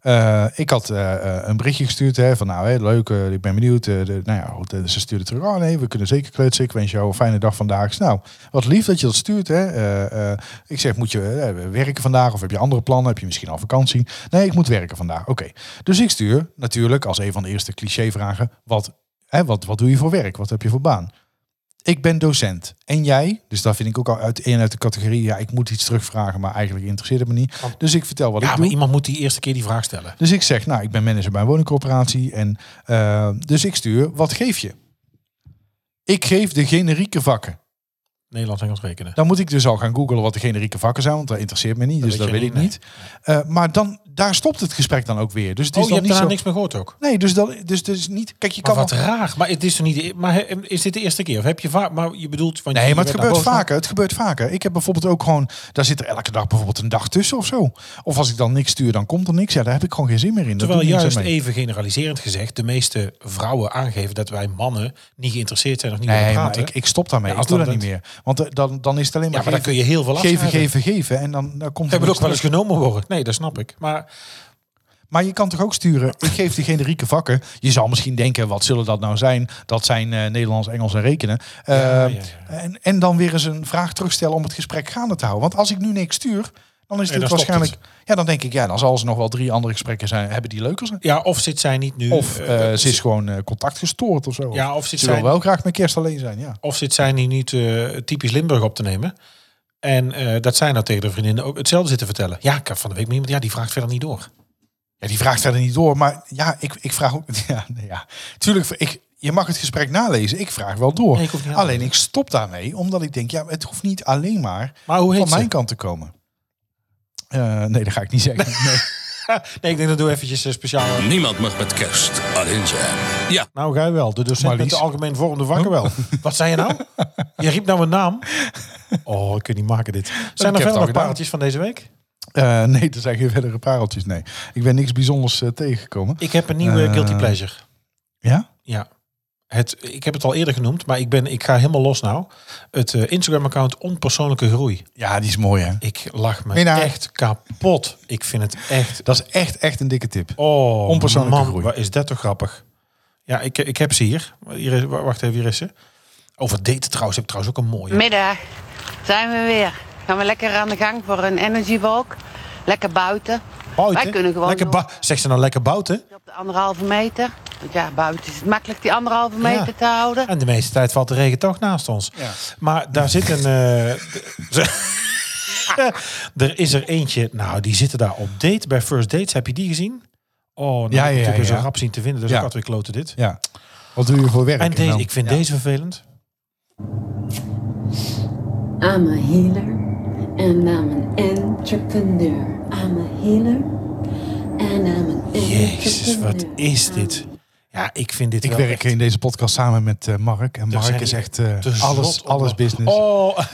Eh, ik had eh, eh, een berichtje gestuurd hè, van nou, hè, leuk, eh, ik ben benieuwd. eh, de, nou ja, goed, eh, ze stuurde terug. Oh nee, we kunnen zeker kletsen. Ik wens jou een fijne dag vandaag. Nou, wat lief dat je dat stuurt. Hè. Eh, eh, ik zeg, moet je eh, werken vandaag? Of heb je andere plannen? Heb je misschien al vakantie? Nee, ik moet werken vandaag. Oké. Dus ik stuur natuurlijk als een van de eerste clichévragen. Wat, hè, wat, wat doe je voor werk? Wat heb je voor baan? ik ben docent. En jij? Dus daar vind ik ook al uit, één uit de categorie. Ja, ik moet iets terugvragen, maar eigenlijk interesseert het me niet. Dus ik vertel wat
Ja,
ik
maar
doe.
iemand moet die eerste keer die vraag stellen.
Dus ik zeg, nou, ik ben manager bij een woningcorporatie. En, eh, dus ik stuur, wat geef je? Ik geef de generieke vakken.
Nederlands Engels rekenen.
Dan moet ik dus al gaan googlen wat de generieke vakken zijn, want dat interesseert me niet. dus
weet
dat
je
weet
niet,
ik niet. Eh, maar dan, daar stopt het gesprek dan ook weer. Dus het is
oh, je
dan
hebt
niet
daar
zo...
niks meer gehoord ook.
Nee, dus dat dus, dus niet... Kijk, je
Maar
kan
wat
wel-
raar. Maar het is toch niet. de- Maar he- is dit de eerste keer? Of heb je vaak? Maar je bedoelt. Want
Nee,
je
maar het
werd
gebeurt
naar boven-
vaker. Het gebeurt vaker. Ik heb bijvoorbeeld ook gewoon, daar zit er elke dag bijvoorbeeld een dag tussen of zo. Of als ik dan niks stuur, dan komt er niks. Ja, daar heb ik gewoon geen zin meer in. Dat
Terwijl
doe ik niks
juist
aan mee.
even generaliserend gezegd, de meeste vrouwen aangeven dat wij mannen niet geïnteresseerd zijn of niet willen
Nee, maar
praten.
ik, ik stop daarmee.
Ja,
ik
als
doe dat
dat
niet
het-
meer. Want eh, dan, dan is het alleen
ja,
maar,
maar dan kun
geven,
je heel veel last
geven,
van hebben.
geven, geven. En dan, dan komt
Ik
er
wil ook wel eens
niks terug.
genomen worden. Nee, dat snap ik. Maar
Maar je kan toch ook sturen, ik geef de generieke vakken. Je zal misschien denken, wat zullen dat nou zijn? Dat zijn eh, Nederlands, Engels en rekenen. Eh,
ja, ja.
En, en dan weer eens een vraag terugstellen om het gesprek gaande te houden. Want als ik nu niks stuur, dan is
Ja,
dit
dan stopt
waarschijnlijk... Ja, dan denk ik, ja, dan zal ze nog wel drie andere gesprekken zijn, hebben die leuker zijn.
ja, of zit zij niet nu.
Of
eh,
eh, ze is gewoon eh, contact gestoord of zo.
Ja, of zit
ze wil
zij-
wel graag met kerst alleen zijn, ja.
of zit zij nu niet eh, typisch Limburg op te nemen? En eh, dat zij nou tegen de vriendinnen ook hetzelfde zitten vertellen. Ja, ik heb van de week met iemand. Ja, die vraagt verder niet door.
Ja, die vraagt verder niet door. Maar ja, ik, ik vraag ook... Ja, nee, ja. Tuurlijk, ik, je mag het gesprek nalezen. Ik vraag wel door.
Nee, ik hoef niet aan te
alleen ik stop daarmee, omdat ik denk... Ja, het hoeft niet alleen maar
Maar hoe heet
van mijn
ze?
kant te komen. Eh, nee, dat ga ik niet zeggen. Nee.
Nee, ik denk dat doe eventjes een speciaal.
Niemand mag met kerst alleen zijn. Ja,
Nou, ga je wel. De docent met
Marlies.
de algemeen vormde vakken wel. Oh. Wat zei je nou? Je riep nou mijn naam. Oh, ik kan niet maken dit. Zijn
heb het
er
al
verder nog
gedaan.
pareltjes van deze week?
Eh, nee, er zijn geen verdere pareltjes, nee. Ik ben niks bijzonders eh, tegengekomen.
Ik heb een nieuwe
Eh,
Guilty Pleasure.
Ja?
Ja. Het, ik heb het al eerder genoemd, maar ik, ben, ik ga helemaal los nou. Het eh, Instagram-account Onpersoonlijke Groei.
Ja, die is mooi, hè?
Ik lach me
Minnaar.
echt kapot. Ik vind het echt...
Dat is echt, echt een dikke tip.
Oh,
Onpersoonlijke
man,
groei.
wat is dat toch grappig. Ja, ik, ik heb ze hier. hier is, wacht even, hier is ze. Oh, Over daten trouwens, heb ik trouwens ook een mooie.
Middag, zijn we weer. Gaan we lekker aan de gang voor een energy walk. Lekker buiten.
Bouten?
Wij kunnen gewoon
lekker
door.
ba- Zegt ze nou lekker bouten?
op de anderhalve meter. Want ja, buiten is het makkelijk die anderhalve meter te houden.
En de meeste tijd valt de regen toch naast ons. Maar daar zit een... eh, d- er is er eentje, nou die zitten daar op date. Bij First Dates, heb je die gezien? Oh, nou,
Ja,
ja,
ja,
ja,
ja,
natuurlijk
ja.
zo rap zien te vinden. Dus
Ja.
ik had weer kloten dit.
Ja. Wat doe je voor werk? Nou,
En deze,
dan-
ik vind deze vervelend.
I'm a healer and I'm an entrepreneur. I'm a healer and I'm an entrepreneur.
Jezus, wat is dit? Ja, ik vind dit
Ik
wel
werk
echt-
in deze podcast samen met eh, Mark. En
Daar
Mark
zijn
is
die
echt eh,
te
alles,
zot op.
alles business.
Oh,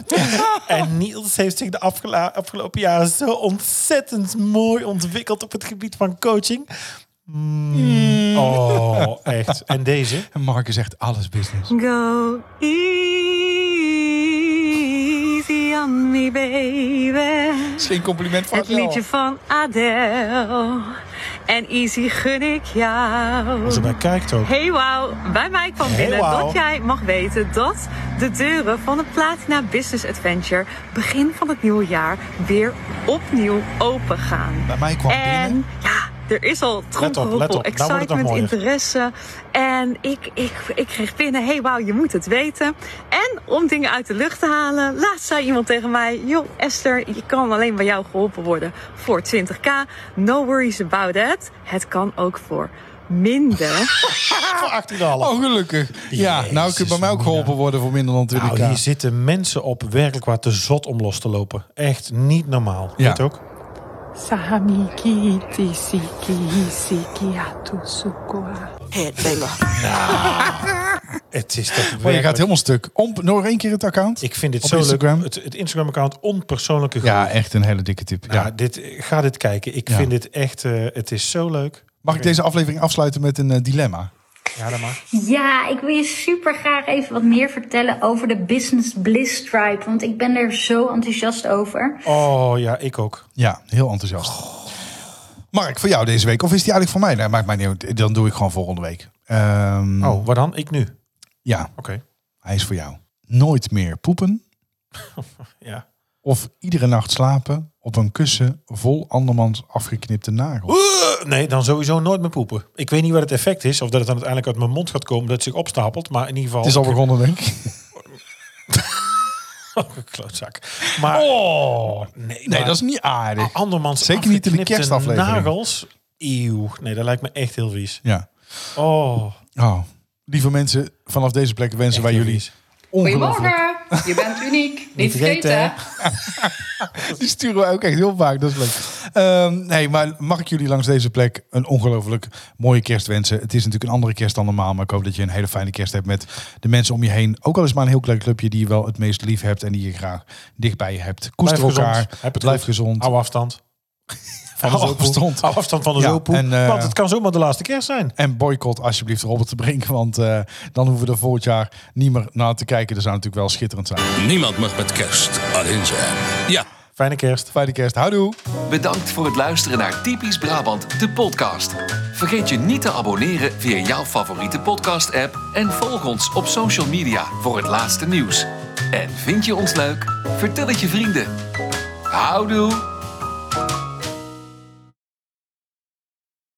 en Niels heeft zich de afgela- afgelopen jaren zo ontzettend mooi ontwikkeld op het gebied van coaching. Mm. Oh, echt. En deze?
En Mark is echt alles business.
Go easy on me, baby.
is geen compliment
Het liedje van Adele. En easy gun ik jou.
Als erbij kijkt ook.
Hey wow, bij mij kwam
Hey
binnen
wauw.
dat jij mag weten dat de deuren van het Platina Business Adventure begin van het nieuwe jaar weer opnieuw open gaan.
Bij mij kwam
en
binnen
ja,
Er is al
let
tromgeroffel,
op. Nou wordt het nog
excitement,
mooier.
interesse. En ik, ik, ik kreeg binnen, hey wauw, je moet het weten. En om dingen uit de lucht te halen, laatst zei iemand tegen mij... joh Esther, je kan alleen bij jou geholpen worden voor 20k. No worries about that. Het kan ook voor minder.
voor 18,5. Oh,
gelukkig. Ja, nou kun je bij mij ook geholpen worden voor minder dan 20k.
Nou, hier zitten mensen op werkelijk waar te zot om los te lopen. Echt niet normaal. Ja. Weet ook?
Sahami kiti siki hisiki atu sukua.
Nou, Het is toch
Maar Oh, je
werkelijk-
gaat helemaal stuk. Om, nog één keer het account.
Ik vind dit
Op
zo
Instagram.
leuk. Het, het Instagram-account onpersoonlijke groei.
Ja, echt een hele dikke tip.
Nou, dit, ga dit kijken. Ik
Ja.
vind dit echt... eh, het is zo leuk.
Mag ik deze aflevering afsluiten met een eh, dilemma?
Ja, dat mag.
Ja, ik wil je super graag even wat meer vertellen over de Business Bliss Tribe. Want ik ben er zo enthousiast over.
Oh ja, ik ook.
Ja, heel enthousiast.
Oh.
Mark, voor jou deze week? Of is die eigenlijk voor mij? Nee, maakt mij niet uit. Dan doe ik gewoon volgende week. Ehm,
oh, wat dan? Ik nu?
Ja.
Oké.
Hij is voor jou. Nooit meer poepen.
Ja.
Of iedere nacht slapen op een kussen vol andermans afgeknipte nagels.
Oeh, Eh, Nee, dan sowieso nooit meer poepen. Ik weet niet wat het effect is. Of dat het dan uiteindelijk uit mijn mond gaat komen. Dat het zich opstapelt. Maar in ieder geval...
Het is al begonnen, denk ik.
Oh, klootzak. Maar,
oh,
nee,
Nee, dat is niet aardig.
Andermans
Zeker niet in de
afgeknipte
kerstaflevering.
nagels. Eeuw. Nee, dat lijkt me echt heel vies.
Ja.
Oh.
Oh. Lieve mensen, vanaf deze plek wensen wij jullie ongelooflijk.
je bent uniek.
Niet vergeten, hè? Die sturen wij ook echt heel vaak, dat is leuk. Ehm, nee, maar mag ik jullie langs deze plek een ongelooflijk mooie kerst wensen? Het is natuurlijk een andere kerst dan normaal, maar ik hoop dat je een hele fijne kerst hebt met de mensen om je heen. Ook al is het maar een heel klein clubje die je wel het meest lief hebt en die je graag dichtbij je hebt. Koester
Blijf gezond.
elkaar,
Heb het
blijf
goed.
gezond.
Hou afstand.
Van de
Hou
zopoe.
afstand. Hou afstand van de zopoe.
eh,
Want het kan zomaar de laatste kerst zijn.
En boycott alsjeblieft Robert te brengen, want eh, dan hoeven we er volgend jaar niet meer naar te kijken. Dat zou natuurlijk wel schitterend zijn.
Niemand mag met kerst alleen zijn.
Ja.
Fijne kerst.
Fijne kerst. Houdoe.
Bedankt voor het luisteren naar Typisch Brabant, de podcast. Vergeet je niet te abonneren via jouw favoriete podcast-app en volg ons op social media voor het laatste nieuws. En vind je ons leuk? Vertel het je vrienden. Houdoe!